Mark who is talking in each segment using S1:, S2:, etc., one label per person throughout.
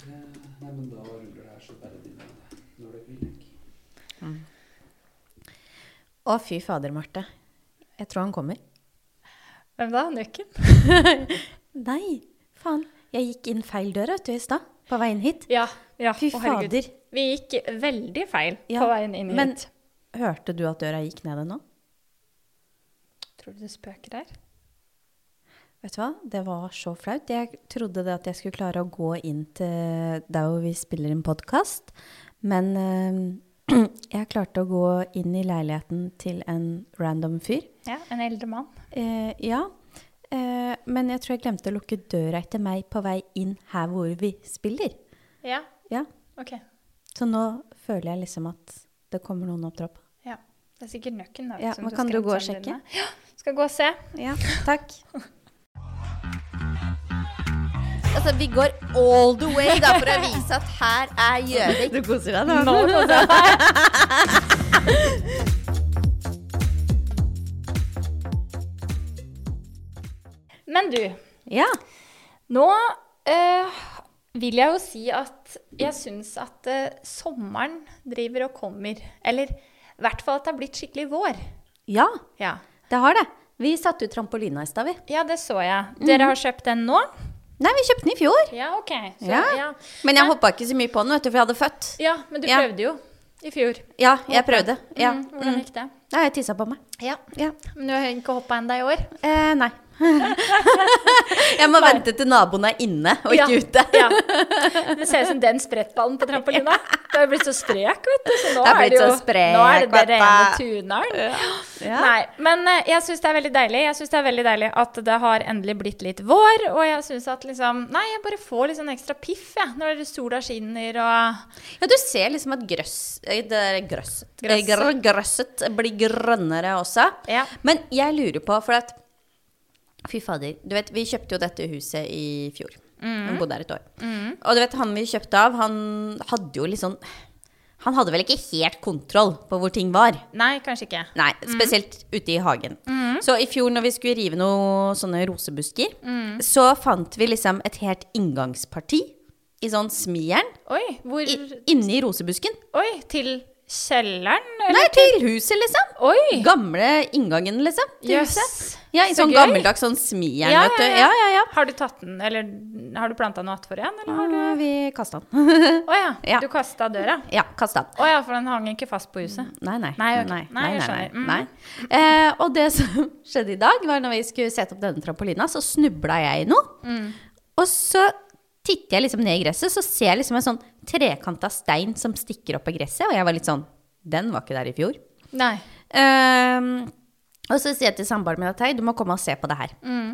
S1: Nei, men da ruller det her så bare begynner det når det vil. ikke?
S2: Å, fy fader, Marte. Jeg tror han kommer.
S3: Hvem da? Nøkken?
S2: Nei, faen. Jeg gikk inn feil dør vet du, i stad, på veien hit.
S3: Ja. ja.
S2: Fy
S3: å, herregud.
S2: fader.
S3: Vi gikk veldig feil
S2: Ja,
S3: på veien inn hit.
S2: men- Hørte du at døra gikk ned ennå?
S3: Tror du det spøker der?
S2: Vet du hva, det var så flaut. Jeg trodde det at jeg skulle klare å gå inn til der hvor vi spiller en podkast, men eh, jeg klarte å gå inn i leiligheten til en random fyr.
S3: Ja, en eldre mann.
S2: Eh, ja, eh, men jeg tror jeg glemte å lukke døra etter meg på vei inn her hvor vi spiller.
S3: Ja.
S2: Ja.
S3: Ok.
S2: Så nå føler jeg liksom at det kommer noen opp trappa.
S3: Det er sikkert nøkken. da.
S2: Ja,
S3: som
S2: men kan du
S3: skremte
S2: gå og
S3: sønnen din
S2: sjekke?
S3: med. Ja, skal gå og se.
S2: Ja, takk. Altså, vi går all the way da, for å vise at her er Gjøvik. Du koser deg nå.
S3: Men du,
S2: Ja.
S3: nå eh, vil jeg jo si at jeg syns at eh, sommeren driver og kommer. Eller i hvert fall at det har blitt skikkelig vår.
S2: ja,
S3: Ja,
S2: det har det. Vi satte ut trampolina i stad, vi.
S3: ja det så jeg. Dere har kjøpt den nå?
S2: Nei, vi kjøpte den i fjor.
S3: Mhm. Ja, OK. Så, ja.
S2: Ja.
S3: Ja.
S2: Men jeg hoppa ikke så mye på den, vet du, for jeg hadde født.
S3: men du
S2: Ja.
S3: prøvde jo i fjor.
S2: Ja, jeg prøvde. Ja.
S3: Mm, hvordan gikk det?
S2: Nei, jeg tissa på meg.
S3: Ja.
S2: Ja.
S3: Men du har ikke hoppa ennå i år?
S2: Eh, nei. jeg må vente til naboen er inne og ikke ute.
S3: ja. Det ser ut som den sprettballen på trampolina. Du har jo blitt så sprek, vet du. Så nå
S2: Det har
S3: er
S2: blitt
S3: det jo
S2: så sprek,
S3: Nå er det det rene
S2: pappa.
S3: tuneren.
S2: Ja.
S3: Nei, men eh, jeg syns det er veldig deilig. Jeg syns det er veldig deilig at det har endelig blitt litt vår, og jeg syns at liksom Nei, jeg bare får litt sånn ekstra piff, jeg, når sola skinner og
S2: Ja, du ser liksom at grøss, eh, det er grøsset, eh, gr- grøsset blir grønnere også.
S3: Ja.
S2: Men jeg lurer på, for at Fy fader. Du vet, vi kjøpte jo dette huset i fjor. Vi bodde her et år. Og du vet, han vi kjøpte av, han hadde jo litt sånn Han hadde vel ikke helt kontroll på hvor ting var.
S3: Nei, kanskje ikke.
S2: Nei, spesielt ute i hagen. Så i fjor når vi skulle rive noen sånne rosebusker, så fant vi liksom et helt inngangsparti i sånn smijern
S3: Oi, hvor
S2: i, inni rosebusken.
S3: Oi, til kjelleren? eller?
S2: Nei, til huset, liksom.
S3: Oi!
S2: Gamle inngangen, liksom. Til
S3: Jøss.
S2: huset. Ja, i
S3: Så
S2: sånn
S3: gøy.
S2: gammeldags sånn smijern,
S3: Ja,
S2: vet du. Ja,
S3: ja, ja.
S2: ja, ja.
S3: Har du tatt den, eller har du planta noe attfor igjen, eller har du
S2: Ah, Vi kasta den.
S3: Å ja.
S2: Ja.
S3: Du kasta døra?
S2: ja, kasta den.
S3: Å ja, for den hang ikke fast på huset.
S2: Nei, nei.
S3: Nei, ok. Nei, jeg skjønner. Mm.
S2: nei. Eh, og det som skjedde i dag, var når vi skulle sette opp denne trampolina, så snubla jeg i noe.
S3: Mm.
S2: Og så titter jeg liksom ned i gresset, så ser jeg liksom en sånn trekanta stein som stikker opp av gresset, og jeg var litt sånn Den var ikke der i fjor.
S3: Nei.
S2: Ehm, og så sier jeg til samboeren min at hei, du må komme og se på det her.
S3: Mm.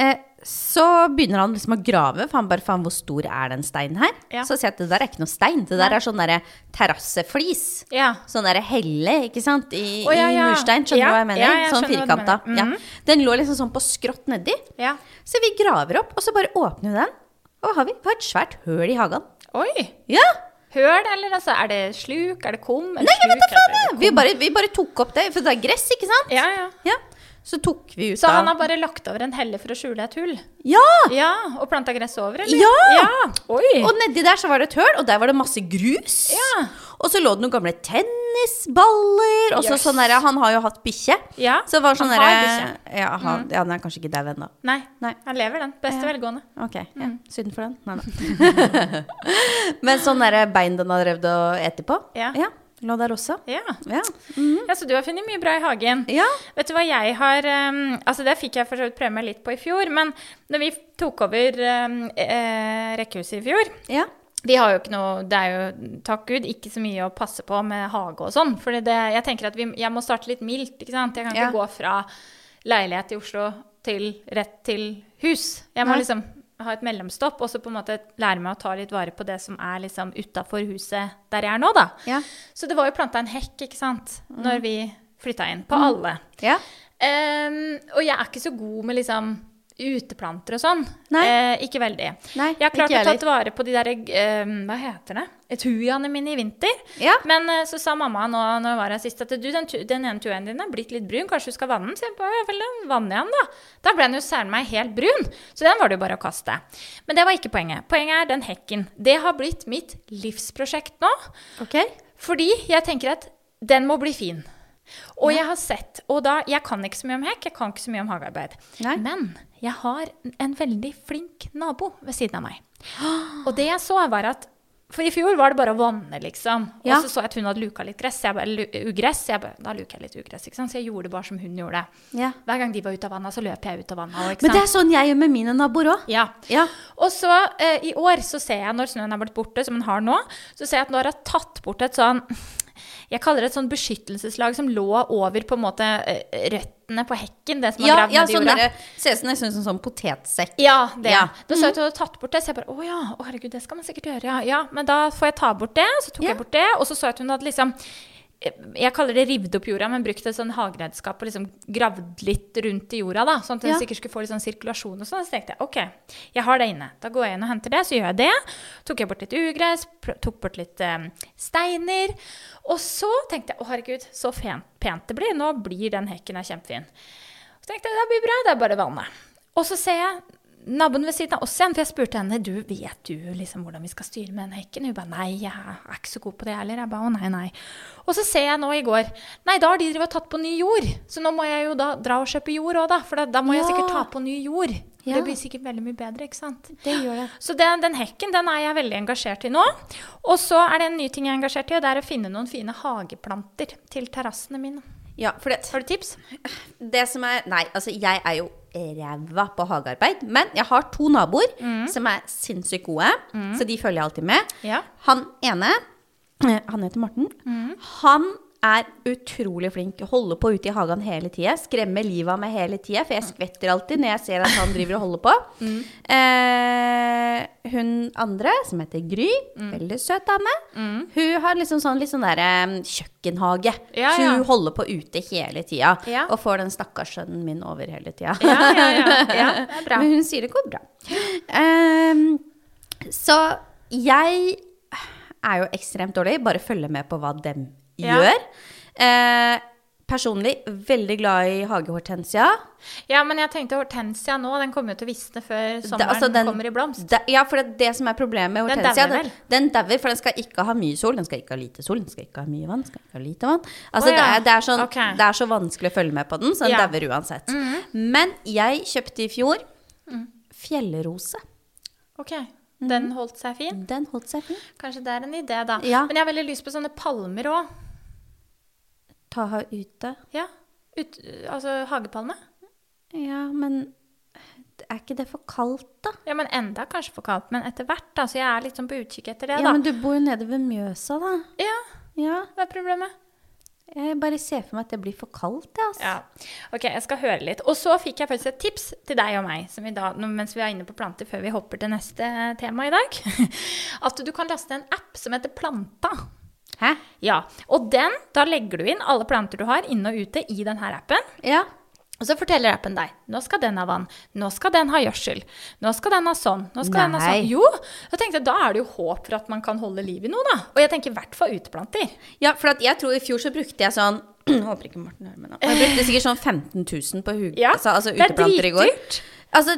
S2: Eh, så begynner han liksom å grave, for han bare faen, hvor stor er den steinen her?
S3: Ja.
S2: Så sier jeg at det der er ikke noe stein, det der er sånn derre terrasseflis.
S3: Ja.
S2: Sånn derre helle, ikke sant, i,
S3: Å, ja,
S2: i
S3: ja.
S2: murstein. Skjønner du
S3: Ja,
S2: hva jeg mener?
S3: ja, jeg
S2: sånn
S3: skjønner hva du
S2: firkanta.
S3: mener. Mhm.
S2: ja. Den lå liksom sånn på skrått nedi.
S3: ja.
S2: Så vi graver opp, og så bare åpner vi den. Og hva har vi? Vi har et svært høl i hagen.
S3: Oi!
S2: Ja!
S3: Høl, eller altså, er det sluk, er det kum? Nei,
S2: Jeg vet da faen, jeg! Vi bare, vi bare tok opp det, for det er gress, ikke sant?
S3: Ja, ja.
S2: Ja. Så tok vi ut
S3: Så han
S2: av
S3: har bare lagt over en helle for å skjule et hull?
S2: Ja!
S3: Ja, Og planta gress over, eller?
S2: Ja!
S3: Oi!
S2: Og nedi der så var det et høl, og der var det masse grus.
S3: Ja.
S2: Og så lå det noen gamle tennisballer. Og så
S3: Jøss.
S2: sånn der, han har jo hatt bikkje.
S3: Ja,
S2: Så det var sånn
S3: han
S2: derre
S3: har bikkje. Mm.
S2: ja, han- ja, den er kanskje ikke dau ennå.
S3: Nei,
S2: Nei.
S3: han lever den. Beste velgående.
S2: Ok, ja.
S3: Mm.
S2: synd for den. Nei, nei. Men sånn derre bein den har drevet og ete på,
S3: Ja.
S2: lå der også.
S3: Ja.
S2: Ja.
S3: ja, Så du har funnet mye bra i hagen.
S2: Mm. ja.
S3: Vet du hva jeg har ehm, Altså, det fikk jeg for så vidt prøve meg litt på i fjor, men når vi tok over ehm, eh, rekkehuset i fjor
S2: ja.
S3: Vi har jo ikke noe Det er jo, takk Gud, ikke så mye å passe på med hage og sånn. For det, jeg tenker at vi, jeg må starte litt mildt, ikke sant. Jeg kan
S2: Ja.
S3: ikke gå fra leilighet i Oslo til rett til hus. Jeg må
S2: Nei.
S3: liksom ha et mellomstopp, og så på en måte lære meg å ta litt vare på det som er liksom utafor huset der jeg er nå, da.
S2: Ja.
S3: Så det var jo planta en hekk, ikke sant,
S2: Mm.
S3: når vi flytta inn. På alle.
S2: Ja.
S3: Ehm, og jeg er ikke så god med liksom uteplanter og sånn.
S2: Nei.
S3: Eh, ikke veldig.
S2: Nei,
S3: Jeg har klart
S2: ikke
S3: å
S2: jeg
S3: tatt vare på de der eh, Hva heter det? Etuiaene mine i vinter.
S2: Ja.
S3: Men eh, så sa mamma nå når jeg var her sist, at du, den, tu- den ene tuaen din er blitt litt brun, kanskje du skal vanne den? Så jeg bare ja vel, den vanner jeg den, da. Da ble den jo særlig meg helt brun. Så den var det jo bare å kaste. Men det var ikke poenget. Poenget er den hekken. Det har blitt mitt livsprosjekt nå.
S2: Ok.
S3: Fordi jeg tenker at den må bli fin. Og jeg har sett, og da, jeg kan ikke så mye om hekk, jeg kan ikke så mye om hagearbeid.
S2: Nei.
S3: Men jeg har en veldig flink nabo ved siden av meg. Og det jeg så var at, for i fjor var det bare å vanne liksom.
S2: Ja.
S3: Og så så jeg at hun hadde luka litt gress, så jeg bare, lu- ugress, så jeg bare, da luker jeg litt ugress, ikke sant? Så jeg gjorde det bare som hun gjorde.
S2: Ja.
S3: Hver gang de var ute av vannet, så løp jeg ut av vannet. også, Ikke
S2: Men
S3: sant?
S2: det er sånn jeg gjør med mine naboer òg.
S3: Ja.
S2: Ja.
S3: Og så eh, i år så ser jeg når snøen er blitt borte, som den har nå, så ser jeg at nå har jeg tatt bort et sånn Jeg kaller det et sånn beskyttelseslag som lå over på en måte eh, røttene på hekken. Det som er
S2: Ja,
S3: gravd
S2: ja,
S3: ned i
S2: sånn
S3: jorda.
S2: der, ser ut som nesten som sånn potetsekk.
S3: Ja, det.
S2: Ja. Mhm.
S3: Da så jeg at du hadde tatt bort det, så jeg bare å ja, å herregud, det skal man sikkert gjøre, ja. ja. Men da får jeg ta bort det. Så tok
S2: Ja.
S3: jeg bort det, og så så jeg at hun hadde liksom eh, jeg kaller det rivd opp jorda, men brukt et sånn hageredskap og liksom gravd litt rundt i jorda. da, Sånn at den
S2: Ja.
S3: sikkert skulle få litt sånn sirkulasjon og sånn. Så tenkte jeg OK, jeg har det inne. Da går jeg inn og henter det, så gjør jeg det. Tok jeg bort litt ugress, pr- tok bort litt eh, steiner. Og så tenkte jeg å herregud, så fen- pent det blir. Nå blir den hekken her kjempefin. Så tenkte jeg det blir bra, det er bare vannet. Og så ser jeg naboen ved siden av oss igjen, for jeg spurte henne du vet du liksom hvordan vi skal styre med den hekken. Hun ba nei, jeg er ikke så god på det heller. Jeg ba å nei, nei. Og så ser jeg nå i går nei, da har de drevet og tatt på ny jord. Så nå må jeg jo da dra og kjøpe jord òg, da. For da, da må
S2: Ja.
S3: jeg sikkert ta på ny jord.
S2: Ja.
S3: Det blir sikkert veldig mye bedre, ikke sant.
S2: Det gjør jeg.
S3: Så den, den hekken den er jeg veldig engasjert i nå. Og så er det en ny ting jeg er engasjert i, og det er å finne noen fine hageplanter til terrassene mine.
S2: Ja, for det,
S3: Har du tips?
S2: det som er Nei, altså jeg er jo ræva på hagearbeid, men jeg har to naboer som er sinnssykt gode, så de følger jeg alltid med.
S3: Mm. Ja. Mm.
S2: Han ene, eh, han heter Morten, han er utrolig flink. Holder på ute i hagen hele tida. Skremmer livet av meg hele tida, for jeg skvetter alltid når jeg ser at han driver og holder på.
S3: Mm.
S2: Eh, hun andre, som heter Gry,
S3: Mm.
S2: veldig søt dame, hun har liksom sånn, litt sånn der eh, kjøkkenhage.
S3: Ja,
S2: Så
S3: ja.
S2: hun holder på ute hele tida.
S3: Ja.
S2: Og får den stakkars sønnen min over hele tida.
S3: Ja, ja, ja. Ja, det er bra.
S2: Men hun sier det går bra. Ehm, så jeg er jo ekstremt dårlig, bare følger med på hva dem
S3: Ja.
S2: gjør. Eh, personlig veldig glad i hagehortensia.
S3: Ja, men jeg tenkte hortensia nå, den kommer jo til å visne før
S2: Det-
S3: sommeren
S2: altså, den-
S3: kommer i blomst.
S2: Det, ja, for det, det som er problemet med
S3: Den
S2: hortensia,
S3: dauer
S2: den- den dauer, for den skal ikke ha mye sol, den skal ikke ha lite sol, den skal ikke ha mye vann, den skal ikke ha lite vann. Altså,
S3: Å, ja.
S2: det, er, det, er sånn,
S3: Ok.
S2: det er så vanskelig å følge med på den, så den
S3: Ja. Mm-hmm.
S2: dauer uansett. Men jeg kjøpte i fjor
S3: Mm.
S2: fjellrose.
S3: Ok, den holdt seg fin.
S2: Den holdt seg fin.
S3: Kanskje det er en idé, da.
S2: Mhm. Ja.
S3: Men jeg har veldig lyst på sånne palmer òg.
S2: Ta ha ute.
S3: Ja. Ut, altså hagepalme.
S2: Ja, men er ikke det for kaldt, da?
S3: Ja, men enda kanskje for kaldt. Men etter hvert, da. Så jeg er litt sånn på utkikk etter
S2: Ja,
S3: det, da.
S2: men du bor jo nede ved Mjøsa, da.
S3: Ja,
S2: Ja,
S3: hva er problemet?
S2: jeg bare ser for meg at det blir for kaldt, jeg, altså.
S3: Ja. Ok, jeg skal høre litt. Og så fikk jeg faktisk et tips til deg og meg som vi da, nå- mens vi er inne på planter, før vi hopper til neste tema i dag. At du kan laste en app som heter Planta.
S2: Hæ?
S3: Ja, og den, da legger du inn alle planter du har inne og ute i denne appen.
S2: Ja.
S3: Og så forteller appen deg nå skal den ha vann, nå skal den ha gjødsel, nå skal den ha sånn, nå skal den ha
S2: Nei.
S3: sånn. Jo, da tenkte jeg, da er det jo håp for at man kan holde liv i noe, da. Og jeg tenker i hvert fall uteplanter.
S2: Ja, for at jeg tror i fjor så brukte jeg sånn Håper ikke Morten hører meg nå. Jeg brukte sikkert sånn 15 000 på hug,
S3: Ja,
S2: altså, altså
S3: det er
S2: uteplanter i går.
S3: dritdyrt.
S2: Altså,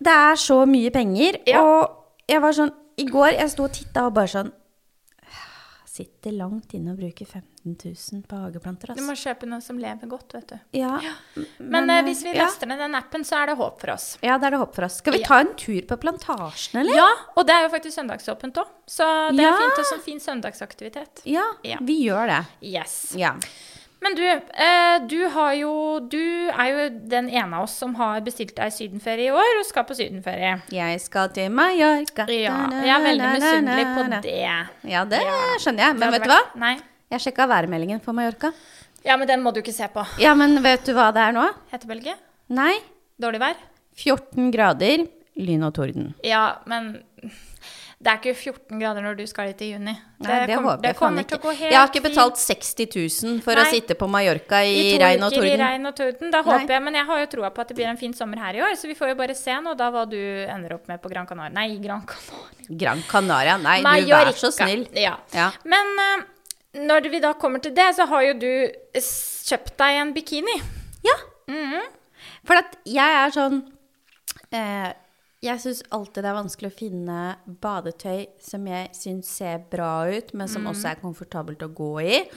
S2: det er så mye penger,
S3: Ja.
S2: og jeg var sånn I går jeg sto og titta og bare sånn Sitter langt inne og bruker 15 000 på hageplanter,
S3: Du
S2: altså.
S3: må kjøpe noe som lever godt, vet du.
S2: Ja,
S3: Men, eh,
S2: eh,
S3: hvis vi
S2: ja.
S3: laster ned den appen, så er det håp for oss.
S2: Ja, det er det håp for oss. Skal vi
S3: Ja.
S2: ta en tur på plantasjen, eller?
S3: Ja, og det er jo faktisk søndagsåpent òg, så det er
S2: Ja.
S3: fint og sånn fin søndagsaktivitet.
S2: Ja,
S3: Ja.
S2: vi gjør det.
S3: Yes.
S2: Ja.
S3: Men du, eh, du har jo Du er jo den ene av oss som har bestilt deg sydenferie i år, og skal på sydenferie.
S2: Jeg skal til Mallorca.
S3: Ja, jeg er veldig misunnelig på det.
S2: Ja, det
S3: Ja.
S2: skjønner jeg. Men
S3: Det hadde
S2: vet du hva?
S3: vært- Nei.
S2: Jeg sjekka værmeldingen for Mallorca.
S3: Ja, men den må du ikke se på.
S2: Ja, men vet du hva det er nå?
S3: Hetebølge?
S2: Nei.
S3: Dårlig vær?
S2: 14 grader, lyn og torden.
S3: Ja, men Det er ikke 14 grader når du skal dit i juni.
S2: Nei, det,
S3: kom-
S2: håper jeg
S3: det
S2: faen
S3: kommer til
S2: ikke.
S3: å gå helt
S2: Jeg har ikke
S3: fint.
S2: betalt 60 000 for å
S3: Nei.
S2: sitte på Mallorca i,
S3: I to
S2: regn og
S3: uker i
S2: torden.
S3: regn og torden. Da
S2: Nei.
S3: håper jeg, men jeg har jo troa på at det blir en fin sommer her i år, så vi får jo bare se nå da hva du ender opp med på Gran Canaria. Nei, Gran Canaria.
S2: Gran Canaria, nei, du
S3: Mallorca.
S2: vær så snill.
S3: Ja.
S2: Ja.
S3: Men eh, når vi da kommer til det, så har jo du eh, s- kjøpt deg en bikini.
S2: ja. Mhm. For at jeg er sånn eh, Jeg syns alltid det er vanskelig å finne badetøy som jeg syns ser bra ut, men
S3: Mhm.
S2: som også er komfortabelt å gå i.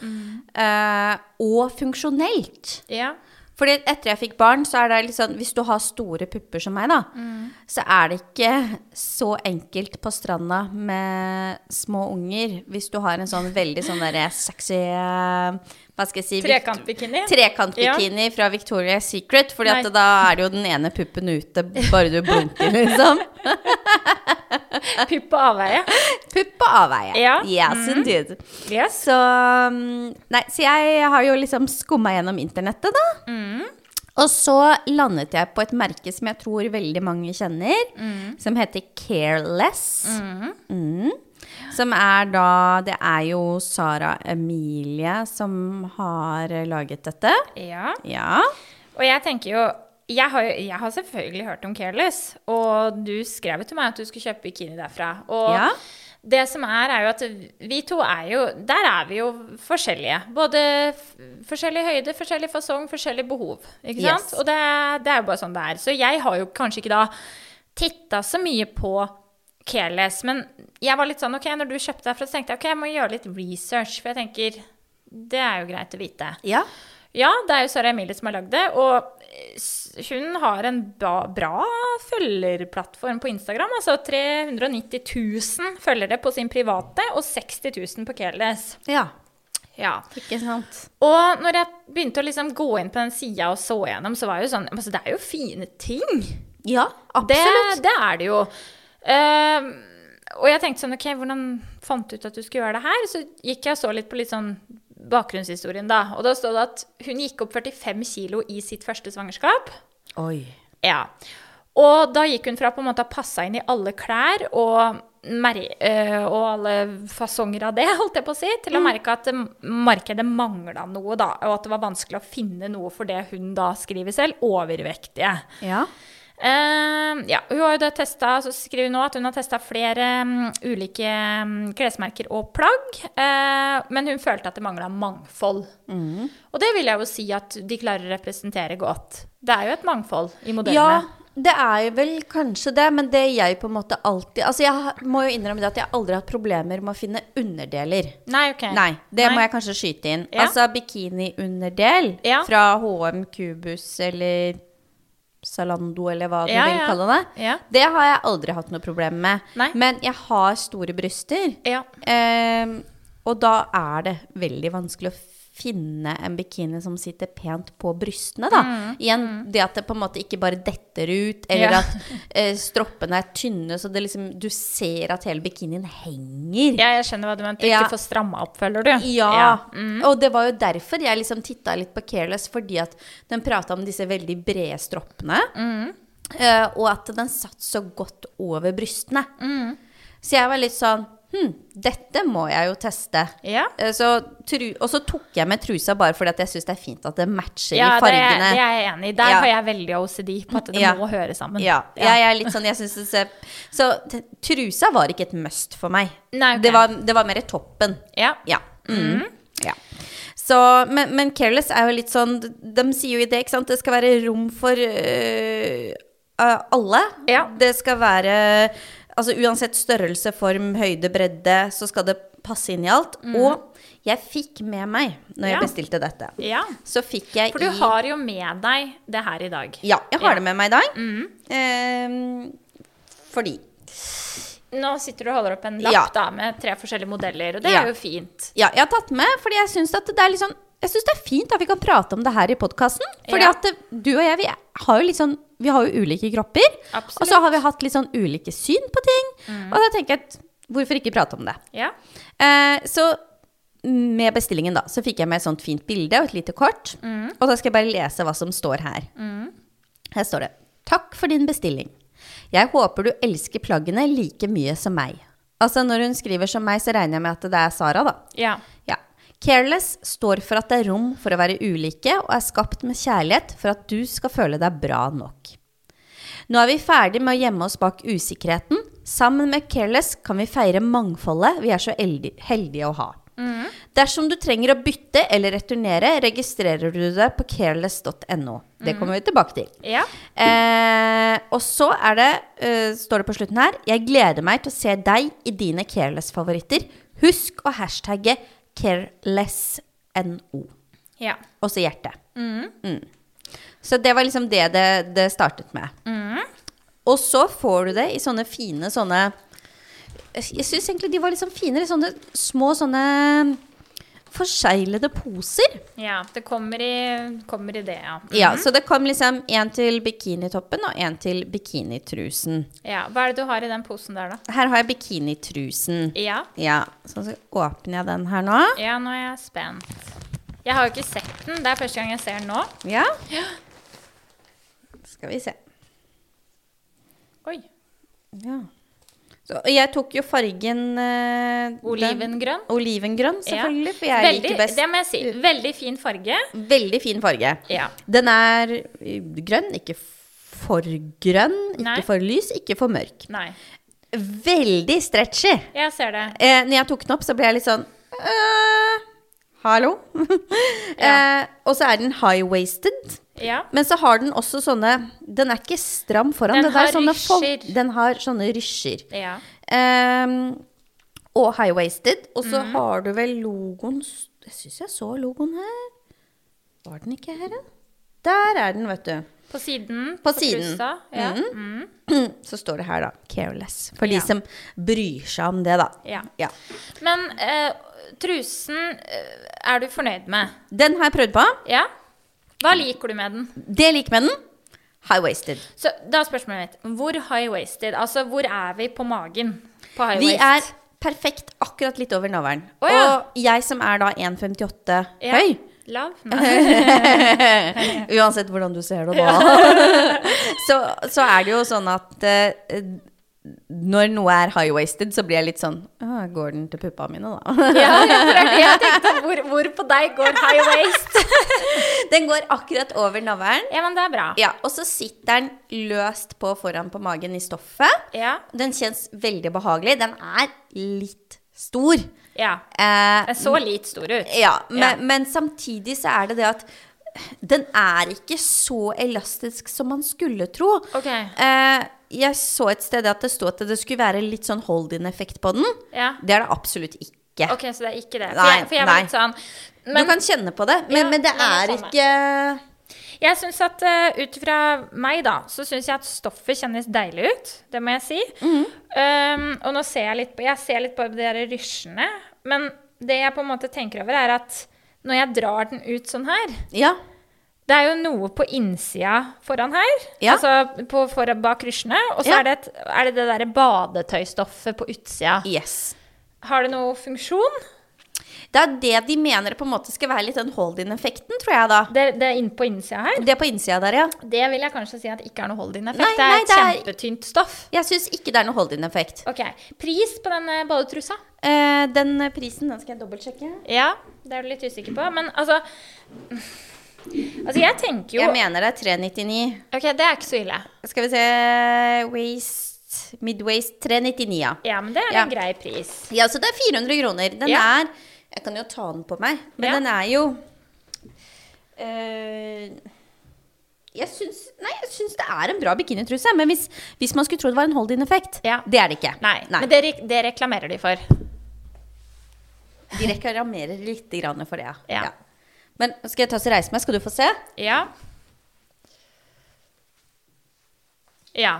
S2: Eh, og funksjonelt.
S3: Ja.
S2: Fordi etter jeg fikk barn, så er det liksom Hvis du har store pupper som meg, da,
S3: Mm.
S2: så er det ikke så enkelt på stranda med små unger. Hvis du har en sånn veldig sånn derre sexy eh, Hva skal jeg si? vikt-
S3: Trekantbikini.
S2: Trekantbikini fra Victoria's Secret, Fordi at
S3: Nei.
S2: da er det jo den ene puppen ute, bare du blunker, liksom.
S3: Pupp på avveie.
S2: Pupp på avveie.
S3: Ja. Mm.
S2: Yes, indeed.
S3: Yes.
S2: Så mm, Nei, så jeg har jo liksom skumma gjennom internettet, da. Og så landet jeg på et merke som jeg tror veldig mange kjenner, som heter Careless. Mm. Som er da Det er jo Sara Emilie som har eh, laget dette.
S3: Ja.
S2: Ja.
S3: Og jeg tenker jo jeg har, jo- jeg har selvfølgelig hørt om Careless, og du skrev jo til meg at du skulle kjøpe bikini derfra. Og
S2: Ja.
S3: det som er, er jo at vi to er jo Der er vi jo forskjellige. Både f forskjellig høyde, forskjellig fasong, forskjellig behov. Ikke sant?
S2: Yes.
S3: Og det, det er jo bare sånn det er. Så jeg har jo kanskje ikke da titta så mye på Careless, men jeg var litt sånn OK, når du kjøpte derfra, så tenkte jeg OK, jeg må gjøre litt research, for jeg tenker Det er jo greit å vite.
S2: ja.
S3: Ja, det er jo Sara Emilie som har lagd det. Og eh, s- hun har en bra, bra følgerplattform på Instagram. Altså 390 000 følgere på sin private og 60 000 på Keles.
S2: Ja.
S3: Ja.
S2: Ikke sant.
S3: Og når jeg begynte å liksom gå inn på den sida og så gjennom, så var jeg jo sånn altså, Det er jo fine ting.
S2: Ja,
S3: Det,
S2: absolutt.
S3: det er det jo. Ehm, og jeg tenkte sånn, ok, hvordan fant du ut at du skulle gjøre det her? Så gikk jeg og så litt på litt sånn bakgrunnshistorien da. Og da stod det at hun gikk opp 45 kilo i sitt første svangerskap.
S2: Oi.
S3: Ja. Og da gikk hun fra på en måte å passe inn i alle klær og, mer- eh, og alle fasonger av det, holdt jeg på å si, til å merke at eh, markedet mangla noe, da. Og at det var vanskelig å finne noe for det hun da skriver selv, overvektige.
S2: Ja.
S3: Eh, ja, hun har jo da testet, så skriver hun nå at hun har testa flere mm, ulike mm, klesmerker og plagg, eh, men hun følte at det mangla mangfold.
S2: Mm.
S3: Og det vil jeg jo si at de klarer å representere godt. Det er jo et mangfold
S2: Ja,
S3: i modellene.
S2: det er jo vel kanskje det, men det jeg på en måte alltid Altså, jeg har- må jo innrømme det at jeg aldri har hatt problemer med å finne underdeler.
S3: Nei, ok.
S2: Nei, det
S3: Eh, Nei.
S2: må jeg kanskje skyte inn.
S3: Ja.
S2: Altså bikiniunderdel
S3: Ja.
S2: fra HM Cubus eller Zalando eller hva du
S3: Ja,
S2: vil
S3: ja.
S2: kalle det.
S3: Ja.
S2: Det har jeg aldri hatt noe problem med.
S3: Nei.
S2: Men jeg har store bryster.
S3: Ja.
S2: Ehm, og da er det veldig vanskelig å finne en bikini som sitter pent på brystene, da. Igjen det at det på en måte ikke bare detter ut, eller
S3: Mm, Ja.
S2: at eh, stroppene er tynne, så det liksom, du ser at hele bikinien henger.
S3: ja, jeg skjønner hva du mente.
S2: Ja.
S3: Ikke få stramma opp, føler du?
S2: Ja.
S3: Mm.
S2: Og det var jo derfor jeg liksom titta litt på Careless, fordi at den prata om disse veldig brede stroppene.
S3: Mm.
S2: eh, og at den satt så godt over brystene.
S3: Mm.
S2: Så jeg var litt sånn Hm, dette må jeg jo teste.
S3: Ja.
S2: Eh, Så tru, og så tok jeg med trusa bare fordi at jeg syns det er fint at det matcher
S3: Ja,
S2: i
S3: det, er-
S2: fargene.
S3: det er jeg enig i. Der
S2: Ja.
S3: har jeg veldig OCD på at det
S2: Ja.
S3: må høre sammen.
S2: ja,
S3: Ja.
S2: jeg er litt sånn, jeg synes det ser Så t trusa var ikke et must for meg.
S3: Nei, ok.
S2: det, var, det var mer toppen.
S3: Ja.
S2: Ja. Mm. ja. Så, men, men Careless er jo litt sånn De sier jo i det, ikke sant? Det skal være rom for øh, øh, alle.
S3: Ja.
S2: Det skal være Altså uansett størrelse, form, høyde, bredde, så skal det passe inn i alt. Og jeg fikk med meg, når
S3: Mm. Ja.
S2: jeg bestilte dette,
S3: ja.
S2: så fikk jeg
S3: For du
S2: i
S3: har jo med deg det her i dag.
S2: Ja, jeg har
S3: Ja. Mm.
S2: det med meg i dag. Eh, fordi
S3: Nå sitter du og holder opp en lapp
S2: Ja.
S3: da, med tre forskjellige modeller, og det
S2: Ja.
S3: er jo fint.
S2: Ja, jeg har tatt med, fordi jeg syns at det er litt sånn jeg synes det er fint at vi kan prate om det her i podkasten. Fordi
S3: Ja.
S2: at det, du og jeg, vi har jo litt sånn Vi har jo ulike kropper.
S3: Absolutt. Mm.
S2: Og så har vi hatt litt sånn ulike syn på ting. Og da tenker jeg at hvorfor ikke prate om det?
S3: Ja.
S2: Eh, så med bestillingen, da, så fikk jeg med et sånt fint bilde og et lite kort.
S3: Mm.
S2: Og da skal jeg bare lese hva som står her. Her står det Takk for din bestilling. Jeg håper du elsker plaggene like mye som meg. Altså, når hun skriver som meg, så regner jeg med at det er Sara, da.
S3: Ja.
S2: Ja. Careless står for at det er rom for å være ulike, og er skapt med kjærlighet for at du skal føle deg bra nok. Nå er vi ferdig med å gjemme oss bak usikkerheten. Sammen med Careless kan vi feire mangfoldet vi er så eldi- heldige å ha. Dersom du trenger å bytte eller returnere, registrerer du det på careless.no. Det kommer vi tilbake til.
S3: ja.
S2: Eh, og så er det, eh, står det på slutten her Jeg gleder meg til å se deg i dine Careless-favoritter. Husk å hashtagge carelessno.
S3: ja.
S2: Og så hjerte. Mm. Så det var liksom det det, det startet med. Og så får du det i sånne fine sånne Jeg syns egentlig de var liksom finere. Sånne små sånne forseglede poser.
S3: Ja, det kommer i, kommer i det, ja.
S2: Ja, Så det kom liksom én til bikinitoppen og én til bikinitrusen.
S3: ja. Hva er det du har i den posen der, da?
S2: Her har jeg bikinitrusen.
S3: Ja,
S2: Ja, så så åpner jeg den her nå.
S3: ja nå er jeg spent. Jeg har jo ikke sett den. Det er første gang jeg ser den nå.
S2: Ja. Skal vi se.
S3: Oi.
S2: Ja. Så, og jeg tok jo fargen eh, den-
S3: Olivengrønn.
S2: Olivengrønn,
S3: Ja.
S2: selvfølgelig, for jeg
S3: veldig,
S2: liker best
S3: Det må jeg si. Veldig fin farge.
S2: Veldig fin farge.
S3: Ja.
S2: Den er eh, grønn, ikke for grønn, ikke
S3: Nei.
S2: for lys, ikke for mørk.
S3: Nei.
S2: Veldig stretchy.
S3: Jeg ser det.
S2: Eh, når jeg tok den opp, så ble jeg litt sånn eh, Hallo? eh, og så er den high-wasted.
S3: Ja.
S2: Men så har den også sånne Den er ikke stram foran.
S3: Den
S2: Den, har,
S3: har
S2: sånne fold-
S3: rysjer.
S2: den har sånne rysjer.
S3: Ja.
S2: Ehm, og high-wasted. Og så
S3: Mhm.
S2: har du vel logoen s- Jeg syns jeg så logoen her. Var den ikke her, da? Der er den, vet du.
S3: På siden.
S2: På siden.
S3: trusa. Ja.
S2: Mhm.
S3: Mm.
S2: Så står det her, da. Careless. For
S3: Ja.
S2: de som bryr seg om det, da.
S3: ja.
S2: Ja.
S3: Men eh, trusen eh, er du fornøyd med?
S2: Den har jeg prøvd på.
S3: Ja? Hva liker du med den?
S2: Det jeg liker med den, high-wasted.
S3: Så da er spørsmålet mitt Hvor high-wasted? Altså, hvor er vi på magen på
S2: Vi er
S3: high-waist?
S2: perfekt akkurat litt over navlen.
S3: Å, ja.
S2: Og jeg som er da 1,58
S3: Ja.
S2: høy
S3: Lav? Nei.
S2: Uansett hvordan du ser det nå. så, så er det jo sånn at eh, når noe er high-wasted, så blir jeg litt sånn «Åh, Går den til puppa mine, da?
S3: Ja, for det er det jeg tenkte. Hvor, hvor på deg går high-waist?
S2: den går akkurat over navlen.
S3: Ja, men det er bra.
S2: Ja, og så sitter den løst på foran på magen i stoffet.
S3: Ja.
S2: Den kjennes veldig behagelig. Den er litt stor.
S3: ja.
S2: Eh,
S3: Den så litt stor ut.
S2: Ja, men,
S3: Ja.
S2: men samtidig så er det det at den er ikke så elastisk som man skulle tro.
S3: Ok.
S2: Eh, jeg så et sted at det stod at det skulle være litt sånn hold-in-effekt på den.
S3: Ja.
S2: Det er det absolutt ikke.
S3: Ok, så det er ikke det. For
S2: Nei,
S3: jeg, for jeg var
S2: nei.
S3: litt sånn
S2: du kan kjenne på det, men,
S3: Ja,
S2: men det
S3: men det
S2: er
S3: er samme.
S2: ikke
S3: Jeg syns at eh, ut fra meg, da, så syns jeg at stoffet kjennes deilig ut. Det må jeg si.
S2: Mhm.
S3: Um, og nå ser jeg litt på Jeg ser litt på de der rysjene. Men det jeg på en måte tenker over, er at når jeg drar den ut sånn her
S2: Ja.
S3: Det er jo noe på innsida foran her,
S2: Ja.
S3: altså på, for, bak rysjene. Og så
S2: Ja.
S3: er, det et, er det det derre badetøystoffet på utsida.
S2: Yes.
S3: Har det noe funksjon?
S2: Det er det de mener på en måte skal være litt den hold-in-effekten, tror jeg da.
S3: Det, det er inn på innsida her.
S2: Det på innsida der, ja.
S3: Det vil jeg kanskje si at ikke er noe hold-in-effekt.
S2: Nei,
S3: Det er
S2: nei,
S3: et
S2: det er-
S3: kjempetynt stoff.
S2: Jeg syns ikke det er noe hold-in-effekt.
S3: Ok, Pris på denne badetrusa?
S2: Eh, den prisen, den skal jeg dobbeltsjekke.
S3: Ja, det er du litt usikker på. Men altså Altså, jeg tenker jo
S2: Jeg mener det er 399.
S3: Ok, det er ikke så ille.
S2: Skal vi se Waist Midwaist 399, ja.
S3: Ja, men det er
S2: Ja.
S3: en grei pris.
S2: Ja, så det er 400 kroner. Den
S3: Ja.
S2: er Jeg kan jo ta den på meg, men
S3: Ja.
S2: den er jo eh, jeg syns, nei, jeg syns det er en bra bikinitruse, men hvis, hvis man skulle tro det var en hold-in-effekt
S3: Ja.
S2: Det er det ikke.
S3: Nei,
S2: Nei.
S3: men det, re- det reklamerer de for.
S2: De reklamerer litt grann for det, ja.
S3: Ja.
S2: Men skal jeg ta så reise meg, skal du få se?
S3: Ja. Ja.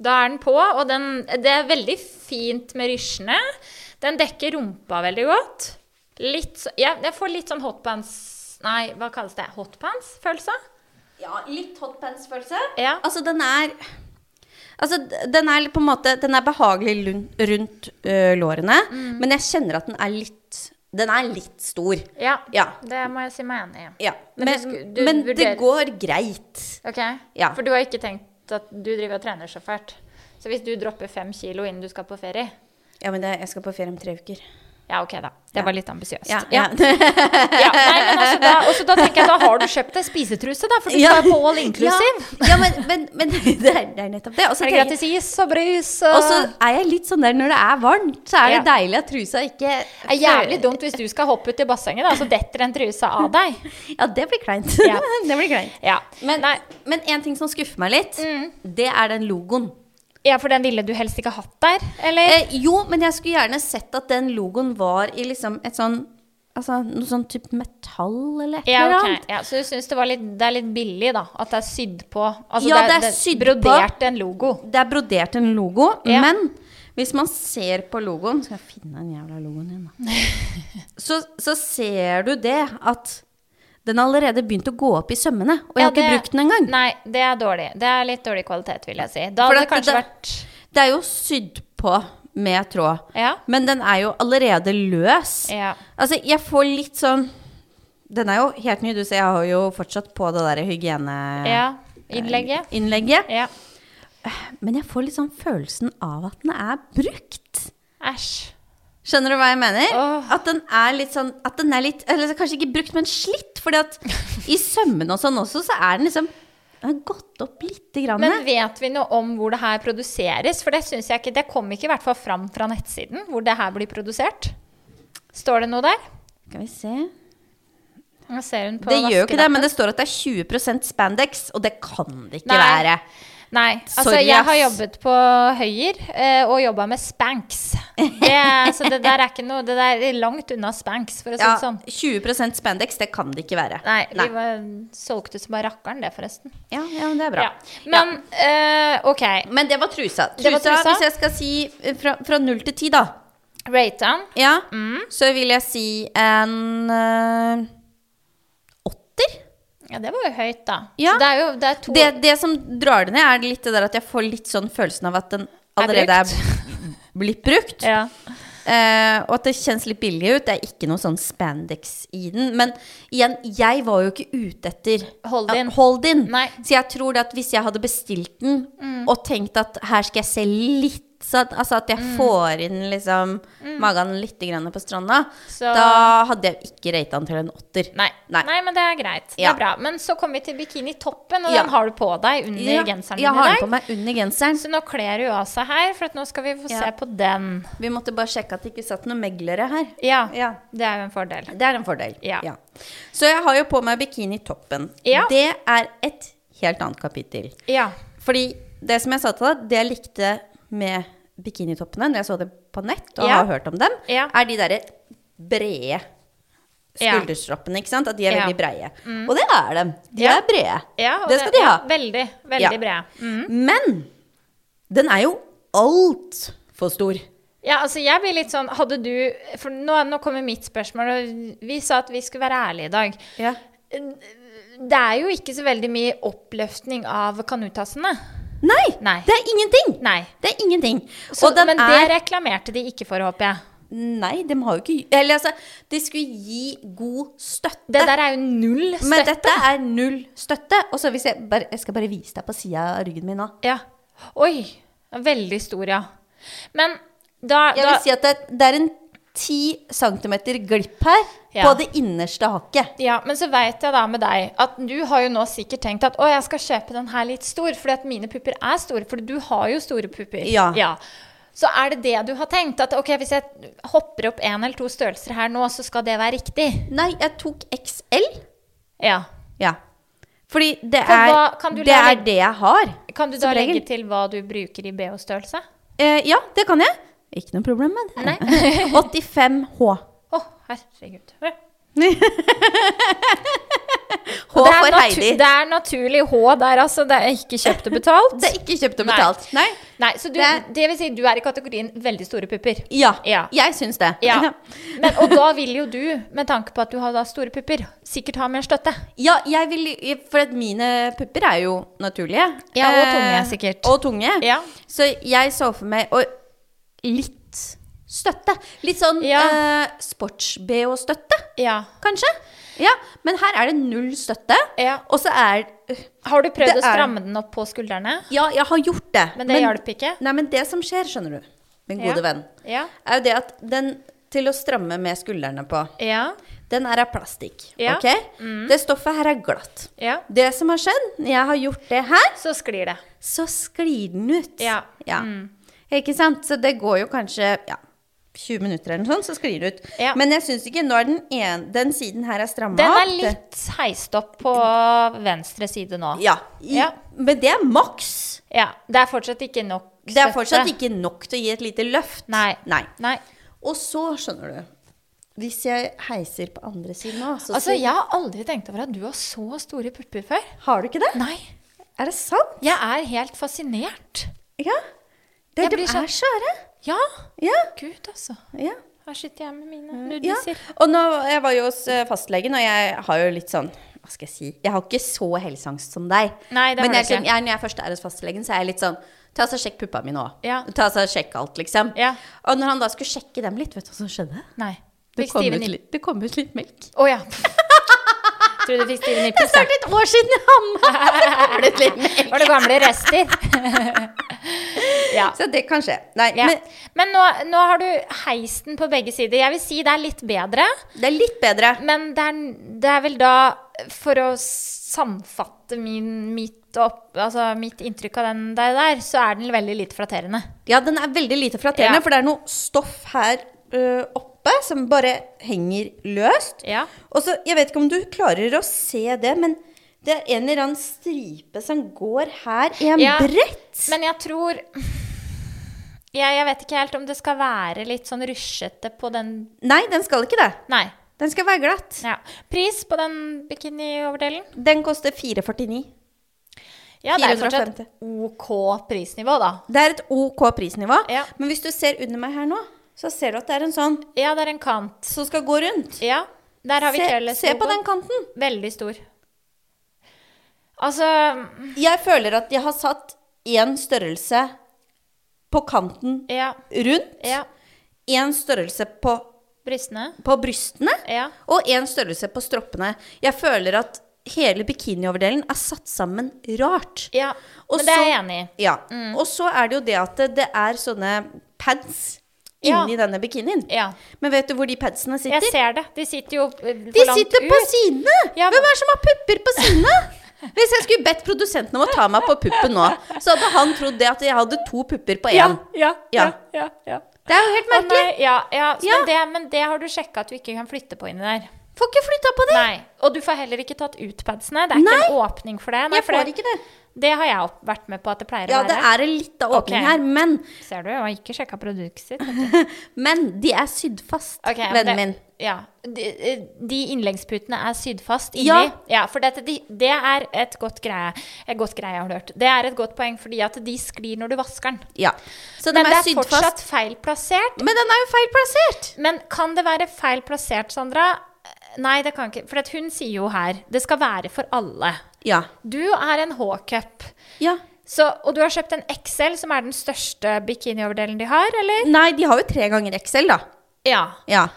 S3: Da er den på, og den Det er veldig fint med rysjene. Den dekker rumpa veldig godt. Litt så ja, Jeg får litt sånn hotpants Nei, hva kalles det? Hotpants-følelse?
S2: Ja, litt hotpants-følelse.
S3: Ja.
S2: Altså, den er Altså, d- den er litt på en måte Den er behagelig lun- rundt ø, lårene,
S3: Mm.
S2: men jeg kjenner at den er litt Den er litt stor.
S3: Ja.
S2: Ja.
S3: Det må jeg si meg enig i.
S2: ja.
S3: Men
S2: Men,
S3: du sku-
S2: men,
S3: du
S2: det
S3: vurderer-
S2: går greit.
S3: Ok,
S2: Ja.
S3: For du har ikke tenkt at du driver og trener så fælt. Så hvis du dropper fem kilo innen du skal på ferie,
S2: Ja, men det, jeg skal på ferie om tre uker.
S3: Ja, ok, da. Det var litt ambisiøst.
S2: Ja,
S3: Ja. Ja, nei, men altså, da, også da tenker jeg, da har du kjøpt deg spisetruse, da, for du
S2: Ja.
S3: skal være på all inclusive.
S2: Ja, ja men, men, men det, er, det er nettopp det. Og så
S3: Det er
S2: tenker jeg-
S3: gratis is og brus.
S2: og så er jeg litt sånn der når det er varmt, så er det
S3: Ja.
S2: deilig at trusa ikke
S3: Det er jævlig dumt hvis du skal hoppe ut i bassenget, da, så detter en truse av deg.
S2: Ja, det blir kleint.
S3: Ja.
S2: det blir kleint.
S3: Ja.
S2: Men,
S3: Nei.
S2: men en ting som skuffer meg litt,
S3: Mm.
S2: det er den logoen.
S3: ja, for den ville du helst ikke hatt der, eller?
S2: Eh, jo, men jeg skulle gjerne sett at den logoen var i liksom et sånn Altså noe sånn type metall eller et
S3: Ja,
S2: eller
S3: ok.
S2: annet.
S3: ja, så du syns det, var litt, det er litt billig, da? At det er sydd på Altså,
S2: Ja,
S3: det er,
S2: det er sydd på.
S3: brodert en logo.
S2: Det er brodert en logo,
S3: Ja.
S2: men hvis man ser på logoen Skal jeg finne den jævla logoen igjen, da. så, så ser du det at den har allerede begynt å gå opp i sømmene. Og jeg
S3: Ja,
S2: har ikke
S3: det-
S2: brukt den engang.
S3: Nei, det er dårlig. Det er litt dårlig kvalitet, vil jeg si. Da
S2: For
S3: hadde det
S2: at
S3: kanskje
S2: det-
S3: vært
S2: Det er jo sydd på med tråd,
S3: Ja.
S2: men den er jo allerede løs.
S3: ja.
S2: Altså, jeg får litt sånn Den er jo helt ny, du ser. Jeg har jo fortsatt på det derre hygieneinnlegget.
S3: ja. Innlegget. Ja.
S2: Men jeg får litt sånn følelsen av at den er brukt.
S3: Æsj.
S2: Skjønner du hva jeg mener?
S3: Åh.
S2: At den er litt sånn At den er litt Eller kanskje ikke brukt, men slitt. Fordi at i sømmene og sånn også, så er den liksom Den har gått opp lite grann.
S3: Men vet vi noe om hvor det her produseres? For det synes jeg ikke Det kom ikke i hvert fall fram fra nettsiden hvor det her blir produsert. Står det noe der?
S2: Skal vi se
S3: Nå ser hun på
S2: Det gjør jo ikke det,
S3: vaskelappen.
S2: men det står at det er 20 spandex, og det kan det ikke
S3: Nei.
S2: være.
S3: Nei. Altså,
S2: Sorry,
S3: jeg
S2: ass.
S3: har jobbet på Høyer eh, og jobba med Spanx. Det, så det der er ikke noe Det der er langt unna Spanx, for å si
S2: Ja,
S3: det sånn.
S2: 20 spandex, det kan det ikke være.
S3: Nei, vi
S2: Nei.
S3: var solgt ut som bare rakkeren, det, forresten.
S2: Ja, ja, men det er bra.
S3: Ja. Men eh, OK.
S2: Men det var trusa. trusa.
S3: Det var trusa.
S2: Hvis jeg skal si eh, fra, fra null til ti, da,
S3: Rate den.
S2: ja,
S3: Mm.
S2: så vil jeg si en eh, åtter.
S3: Ja, det var jo høyt, da.
S2: Ja.
S3: Så det er jo det er to
S2: det, det som drar det ned, er litt det der at jeg får litt sånn følelsen av at den allerede er, blitt brukt.
S3: ja.
S2: Eh, og at det kjennes litt billig ut. Det er ikke noe sånn spandex i den. Men igjen, jeg var jo ikke ute etter
S3: Hold in.
S2: Ja, hold in.
S3: Nei.
S2: Så jeg tror det at hvis jeg hadde bestilt den
S3: Mm.
S2: og tenkt at her skal jeg se litt så at, altså at jeg
S3: Mm.
S2: får inn liksom magen litt grann på stranda.
S3: Så-
S2: Da hadde jeg ikke rata den til en åtter.
S3: Nei.
S2: Nei.
S3: Nei. men det er greit. Det
S2: Ja.
S3: er bra. Men så kommer vi til bikinitoppen, og
S2: Ja.
S3: den har du på deg under
S2: Ja, jeg
S3: genseren din
S2: har
S3: i
S2: den på
S3: dag.
S2: meg under genseren.
S3: Så nå kler hun av seg her, for at nå skal vi få
S2: Ja.
S3: se på den.
S2: Vi måtte bare sjekke at det ikke satt noen meglere her.
S3: Ja,
S2: Ja.
S3: det er jo en fordel.
S2: Det er en fordel.
S3: Ja.
S2: Så jeg har jo på meg bikinitoppen.
S3: Ja.
S2: Det er et helt annet kapittel.
S3: Ja.
S2: Fordi det som jeg sa til deg, det jeg likte med bikinitoppene når jeg så det på nett og
S3: Ja.
S2: har hørt om dem,
S3: Ja.
S2: er de derre brede
S3: Ja.
S2: skulderstrappene, ikke sant? At de er
S3: Ja. Mm.
S2: veldig breie. Og det er dem. De
S3: Ja.
S2: er brede.
S3: ja og
S2: det skal de ha.
S3: ja, Veldig,
S2: Ja.
S3: veldig brede. Mm.
S2: Men den er jo altfor stor.
S3: Ja, altså jeg blir litt sånn Hadde du For nå, nå kommer mitt spørsmål, og vi sa at vi skulle være ærlige i dag.
S2: Ja.
S3: Det er jo ikke så veldig mye oppløftning av kanutassene.
S2: Nei,
S3: Nei.
S2: Det er ingenting!
S3: Nei.
S2: Det er ingenting.
S3: Så,
S2: og den
S3: men
S2: er
S3: det reklamerte de ikke for, håper jeg.
S2: Nei, de har jo ikke Eller altså, de skulle gi god støtte.
S3: Det der er jo null støtte.
S2: Men dette er null støtte. Og så hvis jeg bare Jeg skal bare vise deg på sida av ryggen min nå.
S3: Ja. Oi. Veldig stor, ja. Men da,
S2: Jeg
S3: da
S2: vil si at det, det er en ti centimeter glipp her
S3: Ja.
S2: på det innerste hakket.
S3: Ja, men så veit jeg da med deg at du har jo nå sikkert tenkt at å, jeg skal kjøpe den her litt stor, fordi at mine pupper er store, for du har jo store pupper.
S2: Ja.
S3: Så er det det du har tenkt? At ok, hvis jeg hopper opp én eller to størrelser her nå, så skal det være riktig?
S2: Nei, jeg tok XL.
S3: Ja.
S2: Ja. Fordi det
S3: For
S2: er
S3: hva- kan du
S2: det,
S3: la-
S2: er det jeg har.
S3: Kan du
S2: Som
S3: da
S2: regel.
S3: legge til hva du bruker i BH-størrelse?
S2: Eh, ja, det kan jeg. Ikke noe problem med det. 85 H.
S3: Å, herregud. H
S2: H for Heidi.
S3: Det er naturlig H der, altså. Det er ikke kjøpt og betalt.
S2: Det er ikke kjøpt og
S3: Nei.
S2: betalt. Nei.
S3: Nei, så du, det,
S2: Det-
S3: vil si du er i kategorien veldig store pupper.
S2: Ja,
S3: Ja.
S2: jeg syns det.
S3: Ja. Men, og da vil jo du, med tanke på at du har da store pupper, sikkert ha mer støtte.
S2: Ja, jeg vil, for at mine pupper er jo naturlige.
S3: Ja, og
S2: Eh,
S3: tunge, sikkert.
S2: Og tunge.
S3: Ja.
S2: Så jeg så for meg og litt støtte. Litt sånn
S3: Ja.
S2: eh, sports-BH-støtte,
S3: Ja.
S2: kanskje. Ja, Men her er det null støtte.
S3: Ja.
S2: Og så er
S3: Har du prøvd
S2: Det
S3: å
S2: er-
S3: stramme den opp på skuldrene?
S2: Ja, jeg har gjort det.
S3: Men det hjalp ikke?
S2: Nei, men det som skjer, skjønner du min gode
S3: Ja.
S2: venn,
S3: Ja.
S2: er jo det at den til å stramme med skuldrene på,
S3: Ja.
S2: den er av plastikk.
S3: Ja. Mm.
S2: Ok? Det stoffet her er glatt.
S3: ja.
S2: Det som har skjedd, når jeg har gjort det her,
S3: Så sklir det.
S2: så sklir den ut.
S3: Ja. Mm.
S2: Ikke sant? Så det går jo kanskje ja, 20 minutter eller noe sånt, så sklir den ut.
S3: Ja.
S2: Men jeg syns ikke Nå er den en, den siden her er stramma
S3: Den
S2: opp.
S3: er litt heist opp på venstre side nå.
S2: Ja. I,
S3: Ja.
S2: Men det er maks.
S3: Ja, Det er fortsatt ikke nok støtte.
S2: Det er fortsatt ikke nok til å gi et lite løft.
S3: Nei. Nei.
S2: Og så, skjønner du Hvis jeg heiser på andre siden nå, så
S3: Altså,
S2: sier-
S3: jeg har aldri tenkt over at du har så store pupper før.
S2: Har du ikke det?
S3: Nei.
S2: Er det sant?
S3: Jeg er helt fascinert.
S2: Ja. Det,
S3: Jeg
S2: de
S3: blir sånn- så-
S2: er svære.
S3: Ja.
S2: Ja.
S3: Gud, altså.
S2: ja.
S3: Her sitter jeg med mine
S2: Mm. Ja.
S3: nudiser.
S2: Og nå, jeg var jo hos eh, fastlegen, og jeg har jo litt sånn Hva skal jeg si? Jeg har ikke så helseangst som deg.
S3: Nei, det har
S2: Men
S3: du
S2: jeg,
S3: ikke.
S2: tenker- jeg, når jeg først er hos fastlegen, så er jeg litt sånn Ta så sjekk puppa mine òg.
S3: Ja.
S2: Ta så sjekk alt, liksom.
S3: Ja.
S2: Og når han da skulle sjekke dem litt, vet du hva som skjedde?
S3: Nei.
S2: Det
S3: Fikk
S2: kom,
S3: stive
S2: ut,
S3: nipp-
S2: litt- det kom ut litt melk.
S3: Å ja. Tror du fikk stive
S2: Det er
S3: nippes? da?
S2: snart et år siden jeg har med meg litt melk.
S3: Var det gamle rester? ja.
S2: Så det kan skje. Nei,
S3: ja.
S2: men
S3: Men nå, nå har du heisen på begge sider. Jeg vil si det er litt bedre,
S2: det er litt bedre.
S3: men det er, det er vel da For å samfatte min, mitt, opp, altså mitt inntrykk av den der, der, så er den veldig litt flatterende.
S2: Ja, den er veldig lite flatterende,
S3: Ja.
S2: for det er noe stoff her ø, oppe som bare henger løst.
S3: Ja.
S2: Og så, jeg vet ikke om du klarer å se det, men det er en eller annen stripe som går her i en
S3: Ja,
S2: brett.
S3: Men jeg tror jeg, jeg vet ikke helt om det skal være litt sånn rusjete på den
S2: Nei, den skal ikke det.
S3: Nei.
S2: Den skal være glatt.
S3: Ja. Pris på den bikinioverdelen?
S2: Den koster 4,49.
S3: Ja, det er fortsatt
S2: 450.
S3: OK prisnivå, da.
S2: Det er et OK prisnivå,
S3: Ja.
S2: men hvis du ser under meg her nå, så ser du at det er en sånn
S3: Ja, det er en kant.
S2: som skal gå rundt.
S3: Ja, der har vi
S2: Se,
S3: Kjøles
S2: se på
S3: logo.
S2: den kanten.
S3: Veldig stor. Altså
S2: Jeg føler at jeg har satt én størrelse på kanten
S3: Ja.
S2: rundt,
S3: ja.
S2: én størrelse på,
S3: Brystene.
S2: på brystene
S3: Ja.
S2: og én størrelse på stroppene. Jeg føler at hele bikinioverdelen er satt sammen rart.
S3: ja. Mm.
S2: Og
S3: Men det er jeg
S2: så-
S3: enig i.
S2: Ja. Og så er det jo det at det, det er sånne pads
S3: Ja.
S2: inni denne bikinien.
S3: Ja.
S2: Men vet du hvor de padsene
S3: Jeg
S2: sitter?
S3: ser det. De sitter jo eh,
S2: De
S3: for langt
S2: sitter på
S3: ut.
S2: sidene!
S3: Ja, men-
S2: Hvem er det som har pupper på sidene? Hvis jeg skulle bedt produsenten om å ta meg på puppen nå, så hadde han trodd det at jeg hadde to pupper på én.
S3: Ja, ja, ja, ja, ja.
S2: Det er jo helt
S3: Å,
S2: merkelig.
S3: nei, ja, ja. Så,
S2: Ja.
S3: Men, det, men det har du sjekka at du ikke kan flytte på inni der.
S2: Får ikke flytta på det.
S3: Nei. Og du får heller ikke tatt ut padsene. Det er ikke en åpning for det. Nei,
S2: jeg
S3: for
S2: får
S3: det,
S2: ikke det.
S3: det har jeg opp- vært med på at det pleier
S2: Ja,
S3: å
S2: det
S3: være.
S2: er en liten åpning
S3: Ok.
S2: her, men,
S3: Ser du? Jeg har ikke sjekka produktet sitt.
S2: men de er sydd fast,
S3: Ok, men
S2: vennen
S3: det-
S2: min.
S3: Ja. De, eh, de innleggsputene er sydd fast inni.
S2: Ja.
S3: Ja. for dette, de, det er et godt greie, et godt greie jeg har hørt. Det er et godt poeng, fordi at de sklir når du vasker den.
S2: Ja. Så den
S3: Men det
S2: er
S3: er
S2: sydd
S3: fortsatt
S2: fast.
S3: feil plassert.
S2: Men den er jo feil plassert.
S3: Men kan det være feil plassert, Sandra? Nei, det kan ikke. For at hun sier jo her det skal være for alle.
S2: Ja.
S3: Du er en H-cup,
S2: ja.
S3: Så- og du har kjøpt en XL, som er den største bikinioverdelen de har, eller?
S2: Nei, de har jo tre ganger XL, da.
S3: Ja.
S2: Ja.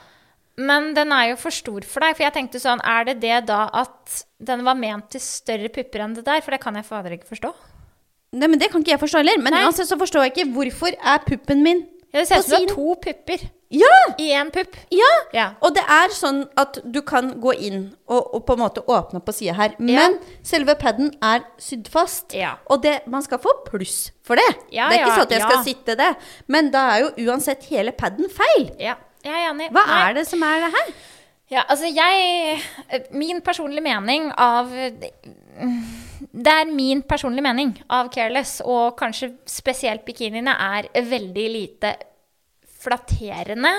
S3: Men den er jo for stor for deg. For jeg tenkte sånn, er det det da at den var ment til større pupper enn det der? For det kan jeg fader ikke forstå.
S2: Nei, men Det kan ikke jeg forstå heller. Men
S3: Nei.
S2: uansett så forstår jeg ikke hvorfor er puppen min
S3: Ja, det ser
S2: På
S3: ut som du
S2: sin-
S3: har to pupper
S2: Ja!
S3: i én pupp.
S2: Ja!
S3: Ja.
S2: Og det er sånn at du kan gå inn og, og på en måte åpne på sida her. Men selve paden er sydd fast.
S3: Ja.
S2: Og det, man skal få pluss for det.
S3: Ja,
S2: det er ikke
S3: ja,
S2: sånn at jeg skal
S3: ja.
S2: sitte det. Men da er jo uansett hele paden feil.
S3: ja. Jeg er enig.
S2: Hva er det som er det her?
S3: Ja, altså jeg eh, Min personlige mening av Det er min personlige mening av Careless, og kanskje spesielt bikiniene, er veldig lite flatterende.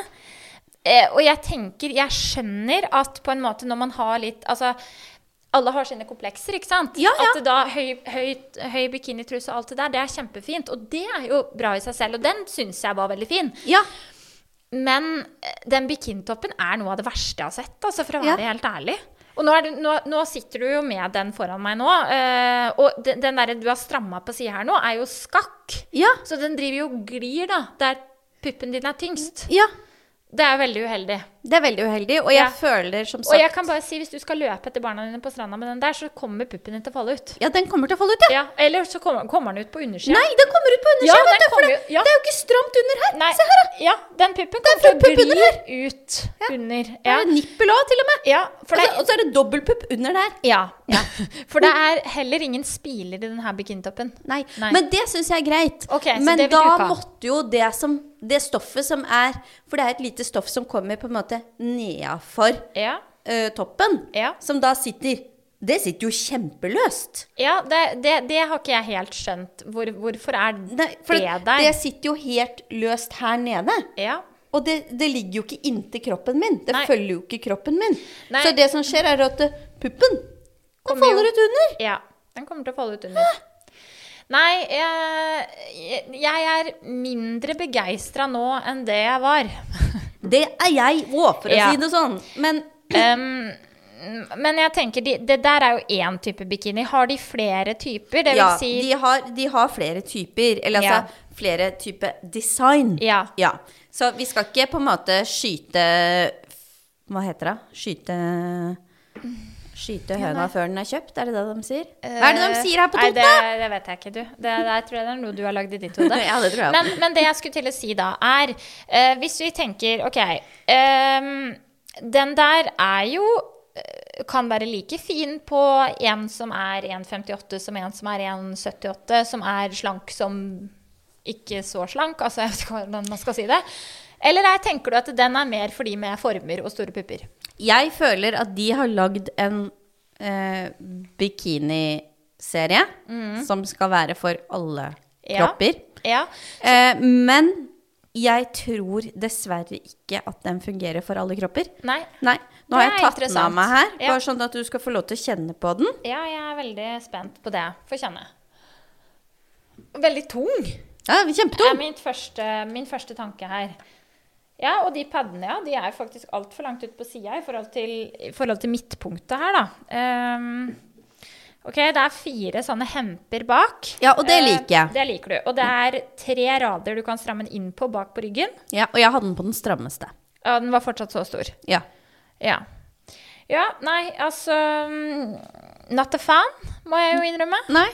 S3: Eh, og jeg tenker, jeg skjønner at på en måte når man har litt Altså, alle har sine komplekser, ikke sant?
S2: Ja, ja.
S3: At det da høy, høy, høy bikinitruse og alt det der, det er kjempefint. Og det er jo bra i seg selv, og den syns jeg var veldig fin.
S2: Ja.
S3: Men eh, den bikinitoppen er noe av det verste jeg har sett, altså, for å
S2: Ja.
S3: være helt ærlig. Og nå, er du, nå, nå sitter du jo med den foran meg nå, eh, og den, den der du har stramma på sida her nå, er jo skakk.
S2: Ja.
S3: Så den driver jo og glir, da, der puppen din er tyngst.
S2: Ja.
S3: Det er jo veldig uheldig.
S2: Det er veldig uheldig, og jeg
S3: Ja.
S2: føler som
S3: Og jeg
S2: sagt
S3: kan bare si, hvis du skal løpe etter barna dine på stranda med den der, så kommer puppen din til å falle ut.
S2: Ja, den kommer til å falle ut, ja.
S3: Ja, Eller så kommer, kommer den ut på undersida.
S2: Nei, den kommer ut på
S3: Ja,
S2: undersida,
S3: den
S2: vet du, for det,
S3: kommer jo- ja.
S2: det er jo ikke stramt under her.
S3: Nei,
S2: Se her, da.
S3: Ja, den puppen
S2: er
S3: kommer
S2: full
S3: til
S2: pupp
S3: å
S2: under
S3: gli ut under.
S2: Det
S3: Ja,
S2: er nippel òg, til og med.
S3: ja for
S2: Og
S3: det
S2: så- Og så er det dobbeltpupp under der.
S3: ja, ja. Oh. For det er heller ingen spiler i denne bikinitoppen.
S2: Nei.
S3: Nei.
S2: Men det syns jeg er greit.
S3: Ok, så
S2: Men
S3: det vil du ikke
S2: da
S3: ha.
S2: måtte jo det som Det stoffet som er For det er et lite stoff som kommer på en måte nedafor
S3: Ja,
S2: ø, toppen,
S3: Ja.
S2: som da sitter Det sitter jo kjempeløst.
S3: ja det, det, det har ikke jeg helt skjønt. Hvor, hvorfor er
S2: Nei, for
S3: det
S2: det,
S3: der?
S2: sitter jo helt løst her nede.
S3: Ja.
S2: Og det, det ligger jo ikke inntil kroppen min. Det
S3: Nei.
S2: følger jo ikke kroppen min.
S3: Nei.
S2: Så det som skjer, er at ø, puppen den
S3: Kommer jo-
S2: faller ut under.
S3: ja. Den kommer til å falle ut under. Nei, eh, jeg, jeg er mindre begeistra nå enn det jeg var.
S2: Det er jeg òg, for å
S3: Ja.
S2: si det sånn. Men
S3: Um, men jeg tenker, de, det der er jo én type bikini. Har de flere typer? Det vil
S2: ja,
S3: si
S2: de, har, de har flere typer. Eller altså
S3: Ja.
S2: flere type design.
S3: Ja.
S2: Så vi skal ikke på en måte skyte Hva heter det? Skyte Skyte høna før den er kjøpt, er det det de sier? Hva er det de sier her på
S3: Eh, Nei,
S2: Toten?
S3: det, det vet jeg ikke, du. Det, det tror jeg det er noe du har lagd i ditt hode.
S2: Ja, det tror jeg.
S3: Men, men det jeg skulle til å si da, er eh, Hvis vi tenker OK. ehm, den der er jo eh, kan være like fin på en som er 1,58 som en som er 1,78, som er slank som ikke så slank. Altså, jeg vet ikke hvordan man skal si det. Eller er, tenker du at den er mer for de med former og store pupper?
S2: Jeg føler at de har lagd en eh, bikiniserie som skal være for alle
S3: Mm. Ja.
S2: kropper.
S3: Ja.
S2: Eh, men jeg tror dessverre ikke at den fungerer for alle kropper.
S3: Nei.
S2: Nei, nå
S3: Det
S2: har jeg tatt
S3: er
S2: den
S3: interessant.
S2: av meg her,
S3: Ja.
S2: bare sånn at du skal få lov til å kjenne på den.
S3: Ja, jeg er veldig spent på det. Få kjenne. Veldig tung.
S2: Ja,
S3: er
S2: Kjempetung.
S3: min første, min første tanke her. Ja, og de paddene, ja, de er jo faktisk altfor langt ut på sida i, forhold til- i forhold til midtpunktet her, da. Ehm, ok, det er fire sånne hemper bak.
S2: Ja, og det
S3: Eh,
S2: liker jeg.
S3: det liker du. Og det er tre rader du kan stramme den inn på bak på ryggen.
S2: Ja, og jeg hadde den på den strammeste.
S3: Ja, den var fortsatt så stor.
S2: Ja.
S3: Ja. Ja, nei, altså mm, Not a fan, må jeg jo innrømme.
S2: Nei.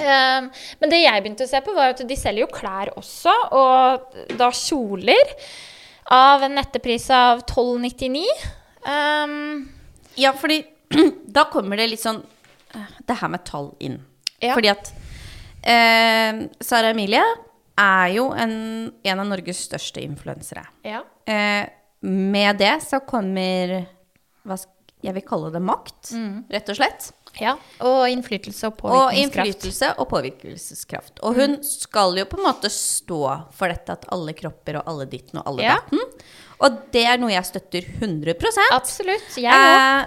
S3: Ehm, men det jeg begynte å se på, var at de selger jo klær også, og da kjoler av en nettepris av 12,99. Ehm,
S2: Ja, fordi da kommer det litt sånn eh, Det her med tall inn.
S3: Ja.
S2: Fordi at eh, Sara Emilie er jo en, en av Norges største influensere.
S3: ja.
S2: Eh, med det så kommer hva sk jeg vil kalle det makt,
S3: Mm.
S2: rett og slett.
S3: ja. Og innflytelse og
S2: Og
S3: påvirkningskraft. Mm.
S2: innflytelse og påvirkelseskraft. Og hun skal jo på en måte stå for dette at alle kropper og alle ditten og alle
S3: Ja.
S2: datten. Og det er noe jeg støtter 100
S3: Absolutt. Jeg òg.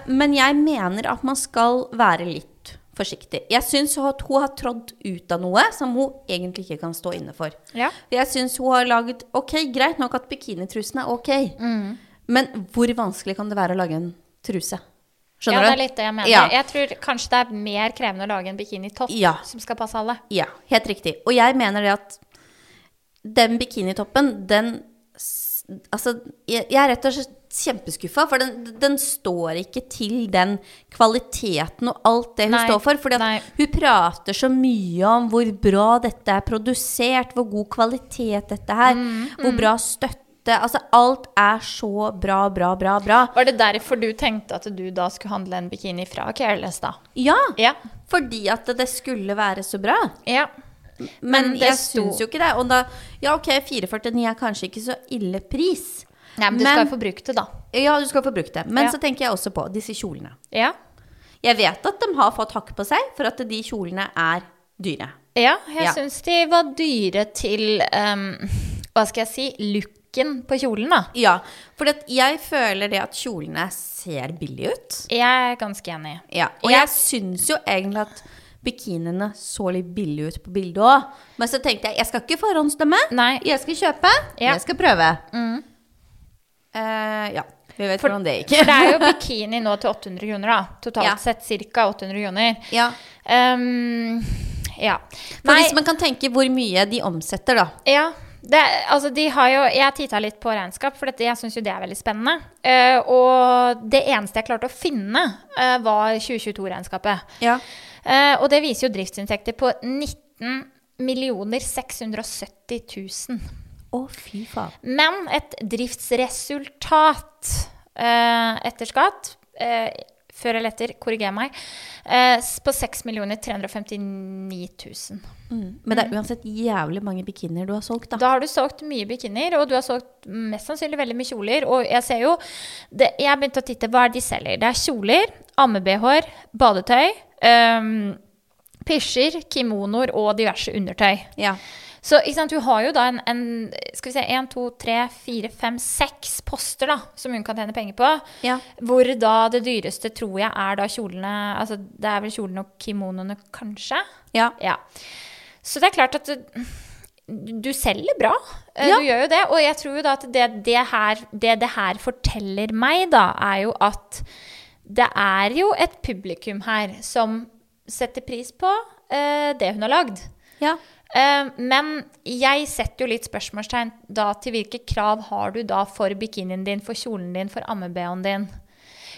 S2: eh, Men jeg mener at man skal være litt forsiktig. Jeg syns at hun har trådd ut av noe som hun egentlig ikke kan stå inne for.
S3: Ja.
S2: Jeg syns hun har laget Ok, greit nok at bikinitrusen er ok,
S3: Mm.
S2: men hvor vanskelig kan det være å lage en truse?
S3: ja,
S2: Skjønner
S3: det
S2: du?
S3: er litt det jeg mener.
S2: Ja.
S3: Jeg tror kanskje det er mer krevende å lage en bikinitopp
S2: Ja.
S3: som skal passe alle.
S2: Ja, helt riktig. Og jeg mener det at den bikinitoppen, den s- Altså, jeg, jeg er rett og slett kjempeskuffa, for den, den står ikke til den kvaliteten og alt det hun
S3: Nei,
S2: står for. For
S3: nei.
S2: hun prater så mye om hvor bra dette er produsert, hvor god kvalitet dette er,
S3: Mm,
S2: hvor bra støtte Altså, alt er så bra, bra, bra, bra.
S3: Var det derfor du tenkte at du da skulle handle en bikini fra Careless, da?
S2: Ja,
S3: Ja.
S2: fordi at det skulle være så bra.
S3: ja.
S2: Men,
S3: Men det
S2: jeg
S3: sto-
S2: syns jo ikke det. Og da, ja, ok, 449 er kanskje ikke så ille pris.
S3: Nei, men du
S2: Men-
S3: skal jo få brukt det, da.
S2: Ja, du skal få brukt det. Men
S3: Ja.
S2: så tenker jeg også på disse kjolene.
S3: Ja.
S2: Jeg vet at de har fått hakk på seg for at de kjolene er dyre.
S3: Ja, jeg
S2: Ja.
S3: syns de var dyre til ehm, Hva skal jeg si looken på kjolen, da.
S2: Ja, for det, jeg føler det at kjolene ser billige ut.
S3: Jeg er ganske enig.
S2: Ja, og jeg syns jo egentlig at bikiniene så litt billige ut på bildet òg. Men så tenkte jeg jeg skal ikke forhåndsdømme.
S3: Nei.
S2: Jeg skal kjøpe.
S3: Ja. Mm.
S2: Jeg skal prøve. Eh, ja. Vi vet hvordan det gikk.
S3: For det er jo bikini nå til 800 kroner, da. Totalt
S2: Ja.
S3: sett ca. 800 kroner.
S2: Ja.
S3: Ehm, ja.
S2: For hvis man kan tenke hvor mye de omsetter, da.
S3: ja, Det, altså, de har jo, jeg titta litt på regnskap, for dette, jeg syns jo det er veldig spennende. Eh, og det eneste jeg klarte å finne, eh, var 2022-regnskapet.
S2: Ja.
S3: Eh, og det viser jo driftsinntekter på 19 670 000.
S2: Å, fy faen.
S3: Men et driftsresultat eh, etter skatt eh, Før eller etter, korriger meg. Eh, s- på 6 359 000.
S2: Mm. Men det er uansett jævlig mange bikinier du har solgt, da.
S3: Da har du solgt mye bikinier, og du har solgt mest sannsynlig veldig mye kjoler. Og jeg ser jo det, Jeg begynte å titte. Hva er det de selger? Det er kjoler, amme-bh-er, badetøy, øhm, pysjer, kimonoer og diverse undertøy.
S2: Ja.
S3: Så ikke sant, hun har jo da en, en skal vi se, en, to, tre, fire, fem, seks poster da, som hun kan tjene penger på.
S2: Ja.
S3: Hvor da det dyreste tror jeg er da kjolene altså Det er vel kjolene og kimonoene, kanskje.
S2: ja.
S3: Ja. Så det er klart at du, du selger bra. Eh,
S2: Ja.
S3: Du gjør jo det. Og jeg tror jo da at det det her, det det her forteller meg, da, er jo at det er jo et publikum her som setter pris på eh, det hun har lagd.
S2: ja.
S3: Eh, men jeg setter jo litt spørsmålstegn da til hvilke krav har du da for bikinien din, for kjolen din, for amme-bh-en din.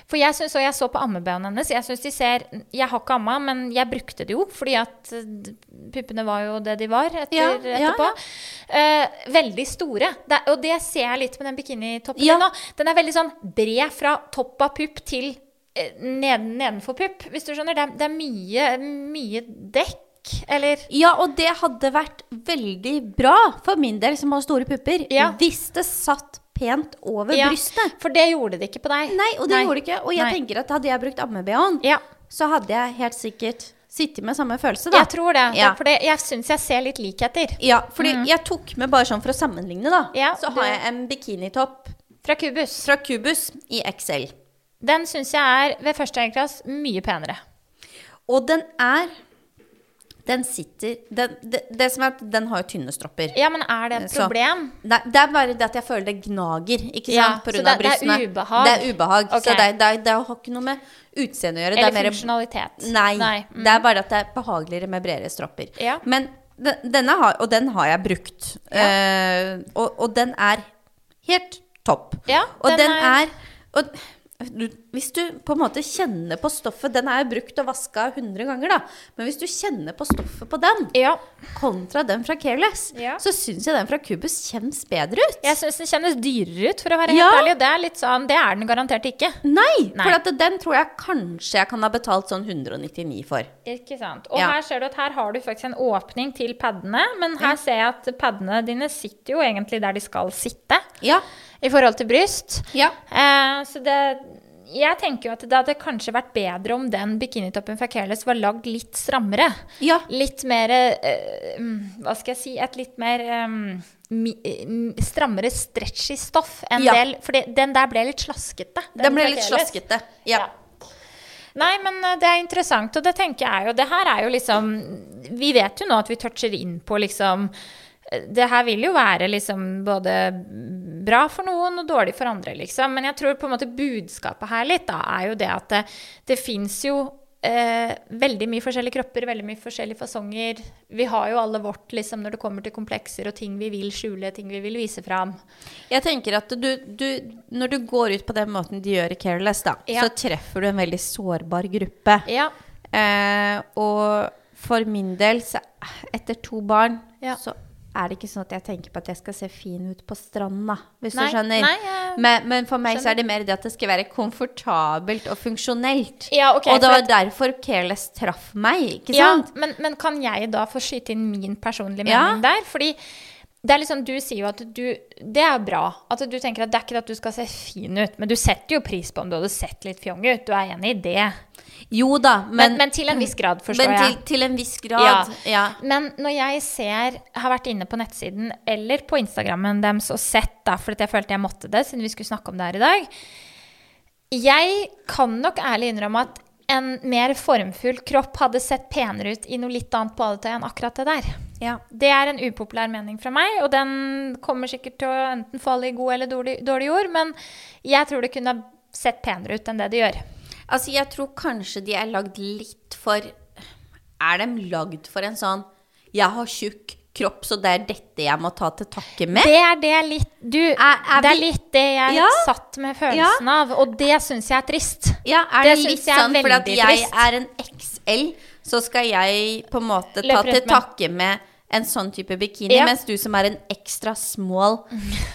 S3: For jeg synes, og jeg så på amme-bh-en hennes, jeg synes de ser Jeg har ikke amma, men jeg brukte det jo, fordi at eh, puppene var jo det de var etter,
S2: Ja, ja,
S3: etterpå. Eh, veldig store. Det, er- og det ser jeg litt med den bikinitoppen
S2: Ja.
S3: din nå. Den er veldig sånn bred fra topp av pupp til eh, neden, nedenfor pupp, hvis du skjønner. Det er, det er mye, mye dekk, eller
S2: Ja, og det hadde vært veldig bra for min del som har store pupper,
S3: Ja.
S2: hvis det satt pent over
S3: Ja,
S2: brystet.
S3: For det gjorde det ikke på deg.
S2: Nei, og det gjorde det ikke. Og jeg
S3: Nei.
S2: tenker at hadde jeg brukt amme-BH-en,
S3: Ja,
S2: så hadde jeg helt sikkert sittet med samme følelse, da.
S3: jeg tror det.
S2: Ja.
S3: For det, jeg syns jeg ser litt likheter.
S2: Ja, fordi jeg tok med bare sånn for å sammenligne, da.
S3: Ja,
S2: så
S3: du-
S2: har jeg en bikinitopp
S3: Fra Kubus.
S2: fra Cubus i XL.
S3: Den syns jeg er ved første øyeklass mye penere.
S2: Og den er Den sitter den, det, det som er at den har jo tynne stropper.
S3: Ja, men er det et
S2: Så-
S3: problem?
S2: Nei, det er bare det at jeg føler det gnager. Ikke
S3: Ja,
S2: sant? På
S3: så
S2: grunn
S3: det-
S2: av
S3: det er
S2: brystene.
S3: ubehag.
S2: Det er ubehag.
S3: Ok.
S2: Så det, er- det, er- det har ikke noe med utseendet å gjøre.
S3: Eller
S2: det er mer-
S3: funksjonalitet?
S2: Nei.
S3: Mm.
S2: Det er bare at det er behageligere med bredere stropper.
S3: Ja.
S2: Men de- denne har, og den har jeg brukt. Eh, og, og den er helt topp.
S3: Ja,
S2: og den,
S3: den
S2: er,
S3: er-
S2: og, du, Hvis du på en måte kjenner på stoffet Den er jo brukt og vaska 100 ganger, da. Men hvis du kjenner på stoffet på den,
S3: Ja.
S2: kontra den fra Careless,
S3: Ja.
S2: så syns jeg den fra Cubus kjennes bedre ut.
S3: Jeg syns den kjennes dyrere ut, for å være helt
S2: Ja.
S3: ærlig. Og det er litt sånn, det er den garantert ikke.
S2: Nei,
S3: Nei.
S2: for at den tror jeg kanskje jeg kan ha betalt sånn 199 for.
S3: Ikke sant. Og
S2: Ja.
S3: her ser du at her har du faktisk en åpning til padene, men her ser jeg at padene dine sitter jo egentlig der de skal sitte
S2: Ja.
S3: i forhold til bryst.
S2: ja.
S3: Eh, så det Jeg tenker jo at det hadde kanskje vært bedre om den bikinitoppen fra Careless var lagd litt strammere.
S2: Ja.
S3: Litt mer eh, mm, Hva skal jeg si Et litt mer eh, mi, eh, mm, strammere, stretchy stoff enn
S2: Ja.
S3: del For det- den der ble litt slaskete.
S2: Den ble
S3: fra
S2: litt
S3: Careless.
S2: slaskete. Ja.
S3: Nei, men eh, det er interessant, og det tenker jeg jo. Det her er jo liksom Vi vet jo nå at vi toucher inn på liksom eh, Det her vil jo være liksom både bra for noen og dårlig for andre, liksom. Men jeg tror på en måte budskapet her litt da er jo det at det, det fins jo eh, veldig mye forskjellige kropper, veldig mye forskjellige fasonger. Vi har jo alle vårt liksom når det kommer til komplekser og ting vi vil skjule, ting vi vil vise fram.
S2: Jeg tenker at du, du, når du går ut på den måten de gjør i Careless, da,
S3: Ja.
S2: så treffer du en veldig sårbar gruppe.
S3: Ja.
S2: Eh, og for min del, så etter to barn,
S3: Ja.
S2: så er det ikke sånn at jeg tenker på at jeg skal se fin ut på stranda, hvis
S3: Nei,
S2: du skjønner.
S3: nei, jeg
S2: men, men for meg så er det mer det at det skal være komfortabelt og funksjonelt.
S3: Ja, ok,
S2: og det
S3: for
S2: var
S3: at-
S2: derfor Careless traff meg, ikke
S3: Ja,
S2: sant?
S3: men, men kan jeg da få skyte inn min personlige
S2: Ja.
S3: mening der? Fordi det er liksom, du sier jo at du Det er bra. At du tenker at det er ikke at du skal se fin ut, men du setter jo pris på om du hadde sett litt fjong ut. Du er enig i det.
S2: Jo da,
S3: Men,
S2: men,
S3: men, til en viss grad, forstår
S2: men til,
S3: jeg.
S2: til en viss grad. Ja.
S3: Men når jeg ser, har vært inne på nettsiden eller på Instagrammen deres og sett, da, fordi jeg følte jeg måtte det siden vi skulle snakke om det her i dag Jeg kan nok ærlig innrømme at en mer formfull kropp hadde sett penere ut i noe litt annet badetøy enn akkurat det der.
S2: Ja.
S3: Det er en upopulær mening fra meg, og den kommer sikkert til å enten falle i god eller dårlig, dårlig jord, men jeg tror det kunne ha sett penere ut enn det det gjør.
S2: Altså, jeg tror kanskje de er lagd litt for Er de lagd for en sånn Jeg har tjukk kropp, så det er dette jeg må ta til takke med.
S3: Det er det litt Du,
S2: er
S3: det er
S2: vi-
S3: litt det jeg
S2: Ja.
S3: satt med følelsen av, og det syns jeg er trist.
S2: Ja, er det,
S3: Det
S2: litt
S3: synes jeg er
S2: sånn fordi at
S3: veldig
S2: jeg
S3: trist.
S2: er en XL, så skal jeg på en måte ta
S3: Løpe rundt
S2: til
S3: med-
S2: takke med en sånn type bikini,
S3: Ja.
S2: mens du som er en ekstra small,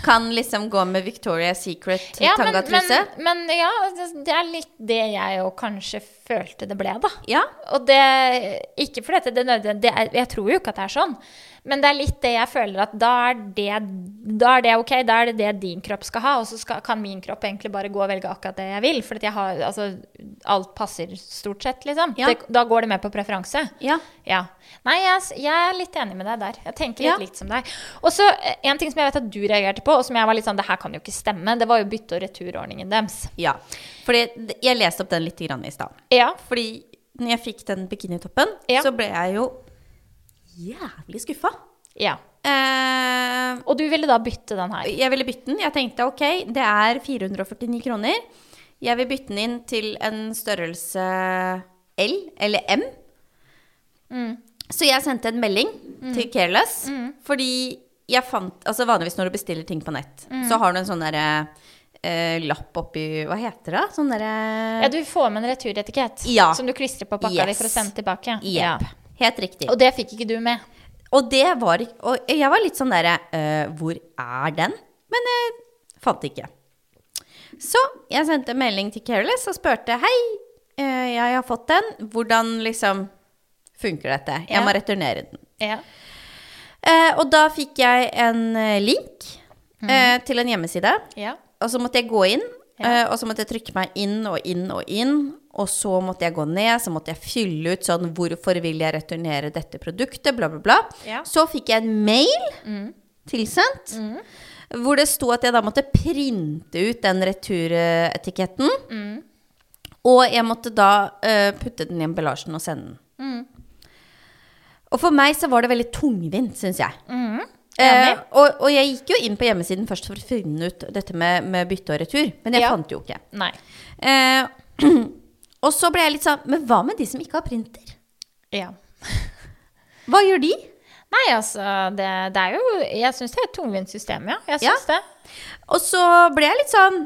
S2: kan liksom gå med Victoria's Secret
S3: Ja, men, men,
S2: tangatruse?
S3: men ja, det- det er litt det jeg jo kanskje følte det ble, da.
S2: Ja.
S3: Og det Ikke fordi at det er nødvendig, det er, jeg tror jo ikke at det er sånn. Men det er litt det jeg føler at da er det, da er det ok, da er det det din kropp skal ha. Og så skal, kan min kropp egentlig bare gå og velge akkurat det jeg vil. For at jeg har, altså, alt passer stort sett, liksom.
S2: Ja.
S3: Det, da går det med på preferanse.
S2: ja.
S3: Ja. Nei, jeg, s- jeg er litt enig med deg der. Jeg tenker litt
S2: Ja.
S3: likt som deg. Og så eh, en ting som jeg vet at du reagerte på, og som jeg var litt sånn Det her kan jo ikke stemme. Det var jo bytte- og returordningen deres.
S2: Ja. Fordi d- jeg leste opp den litt grann i stad.
S3: Ja.
S2: Fordi når jeg fikk den bikinitoppen,
S3: Ja.
S2: så ble jeg jo jævlig skuffa.
S3: ja.
S2: Eh,
S3: Og du ville da bytte den her.
S2: Jeg ville bytte den. Jeg tenkte ok, det er 449 kroner. Jeg vil bytte den inn til en størrelse L eller M.
S3: Mm.
S2: Så jeg sendte en melding til Careless. Fordi jeg fant Altså vanligvis når du bestiller ting på nett,
S3: Mm.
S2: så har du en sånn derre eh, lapp oppi Hva heter det? Sånn derre
S3: Ja, du får med en returetikett
S2: Ja.
S3: som du klistrer på pakka di
S2: Yes.
S3: for å sende tilbake. Ja.
S2: Jepp. Helt riktig.
S3: Og det fikk ikke du med.
S2: Og det var ikk- Og jeg var litt sånn derre «Øh, Hvor er den? Men jeg fant ikke. Så jeg sendte en melding til Careless og spurte Hei, øh, jeg har fått den. Hvordan liksom funker dette? Jeg
S3: Ja.
S2: må returnere den.
S3: Ja.
S2: Eh, og da fikk jeg en eh, link eh, til en hjemmeside.
S3: Ja.
S2: Og så måtte jeg gå inn,
S3: Ja.
S2: eh, og så måtte jeg trykke meg inn og inn og inn. Og så måtte jeg gå ned, så måtte jeg fylle ut sånn Hvorfor vil jeg returnere dette produktet? Bla, bla, bla.
S3: Ja. Mm.
S2: Så fikk jeg en mail tilsendt. Hvor det sto at jeg da måtte printe ut den returetiketten. Og jeg måtte da eh, putte den i emballasjen og sende den. Og for meg så var det veldig tungvint, syns jeg. Eh,
S3: Enig.
S2: og, og jeg gikk jo inn på hjemmesiden først for å finne ut dette med, med bytte og retur, men jeg
S3: Ja.
S2: fant det jo ikke.
S3: Nei.
S2: Eh, og så ble jeg litt sånn Men hva med de som ikke har printer?
S3: Ja.
S2: Hva gjør de?
S3: Nei, altså, det, det er jo Jeg syns det er et tungvint system, ja. Jeg syns det.
S2: Og så ble jeg litt sånn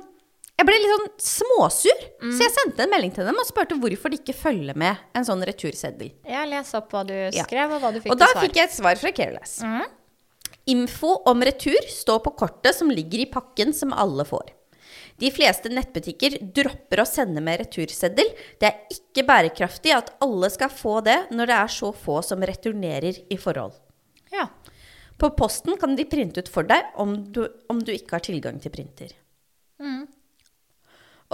S2: jeg ble litt sånn småsur, så jeg sendte en melding til dem og spurte hvorfor de ikke følger med en sånn returseddel.
S3: Jeg leser opp hva du
S2: Ja.
S3: skrev, og hva du fikk
S2: Og da
S3: til svar. Mm.
S2: fikk jeg et svar fra Careless. Info om retur står på kortet som ligger i pakken som alle får. De fleste nettbutikker dropper å sende med returseddel. Det er ikke bærekraftig at alle skal få det når det er så få som returnerer i forhold.
S3: Ja.
S2: På posten kan de printe ut for deg om du, om du ikke har tilgang til printer.
S3: Mm.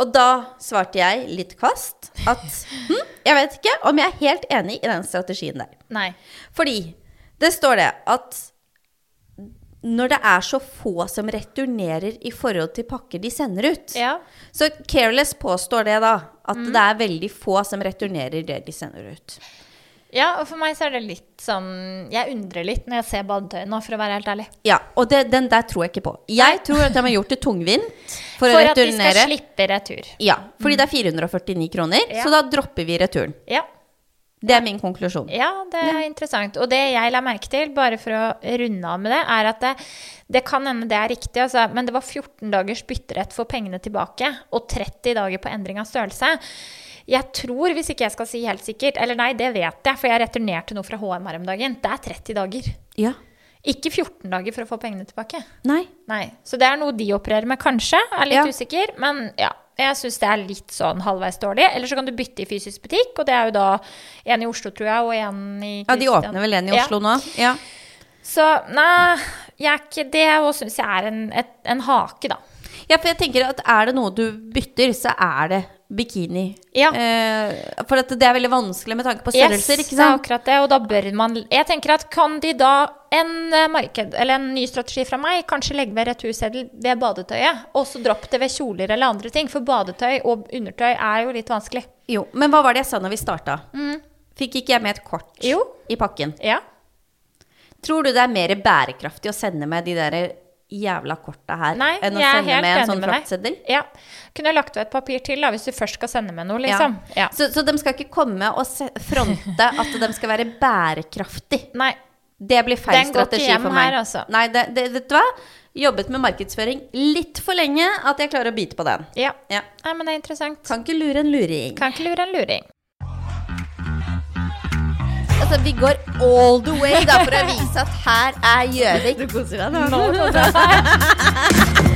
S2: Og da svarte jeg litt kvast at hm, jeg vet ikke om jeg er helt enig i den strategien der.
S3: Nei.
S2: Fordi det står det at når det er så få som returnerer i forhold til pakker de sender ut
S3: Ja. Mm.
S2: Så Careless påstår det, da. At det er veldig få som returnerer det de sender ut.
S3: ja, og for meg så er det litt sånn Jeg undrer litt når jeg ser badetøyet nå, for å være helt ærlig.
S2: Ja, Og det, den der tror jeg ikke på. Jeg tror at de har gjort det tungvint for, å
S3: For, at de skal
S2: returnere.
S3: slippe retur.
S2: ja, Fordi det er 449 kroner,
S3: Ja.
S2: så da dropper vi returen.
S3: Ja.
S2: Det er min konklusjon.
S3: Ja, det er interessant. Og det jeg la merke til, bare for å runde av med det, er at det, det kan hende det er riktig, altså, men det var 14 dagers bytterett for pengene tilbake og 30 dager på endring av størrelse. Jeg tror, hvis ikke jeg skal si helt sikkert, eller nei, det vet jeg, for jeg returnerte noe fra HM her om dagen, det er 30 dager.
S2: Ja.
S3: Ikke 14 dager for å få pengene tilbake.
S2: Nei.
S3: Nei. Så det er noe de opererer med, kanskje. Er litt
S2: Ja.
S3: usikker. Men ja, jeg syns det er litt sånn halvveis dårlig. Eller så kan du bytte i fysisk butikk, og det er jo da en i Oslo, tror jeg, og en i
S2: Ja, De
S3: Kristian-
S2: åpner vel en i
S3: Ja.
S2: Oslo nå? Ja.
S3: Så nei, jeg er ikke det òg syns jeg er en, et, en hake, da.
S2: Ja, for jeg tenker at er det noe du bytter, så er det bikini.
S3: Ja.
S2: Eh, for at det er veldig vanskelig med tanke på
S3: Yes,
S2: størrelser, ikke
S3: det er
S2: sant?
S3: akkurat det, og da bør man Jeg tenker at kan de da en, eh, marked, eller en ny strategi fra meg, kanskje legge ved returseddel ved badetøyet, og så dropp det ved kjoler eller andre ting, for badetøy og undertøy er jo litt vanskelig.
S2: Jo, men hva var det jeg sa når vi starta? Fikk ikke jeg med et kort
S3: Mm. Jo.
S2: i pakken?
S3: Ja.
S2: Tror du det er mer bærekraftig å sende med de der jævla korta her
S3: Nei,
S2: enn å
S3: jeg er
S2: sende
S3: helt
S2: med en
S3: enig
S2: sånn
S3: med deg.
S2: fraktseddel?
S3: Ja. Kunne jeg lagt ved et papir til, da, hvis du først skal sende med noe, liksom. Ja.
S2: Så, så de skal ikke komme og se- fronte at de skal være bærekraftig.
S3: Nei.
S2: Det blir feil
S3: Den går ikke
S2: strategi
S3: hjem
S2: for meg.
S3: her, altså.
S2: Nei, det, det, vet du hva? Jobbet med markedsføring litt for lenge at jeg klarer å bite på den.
S3: Ja.
S2: Ja.
S3: Nei, men det er interessant.
S2: Kan ikke lure en luring.
S3: Kan ikke lure en luring.
S2: Altså, vi går all the way da, for å vise at her er Gjøvik. Du koser deg
S3: Nå,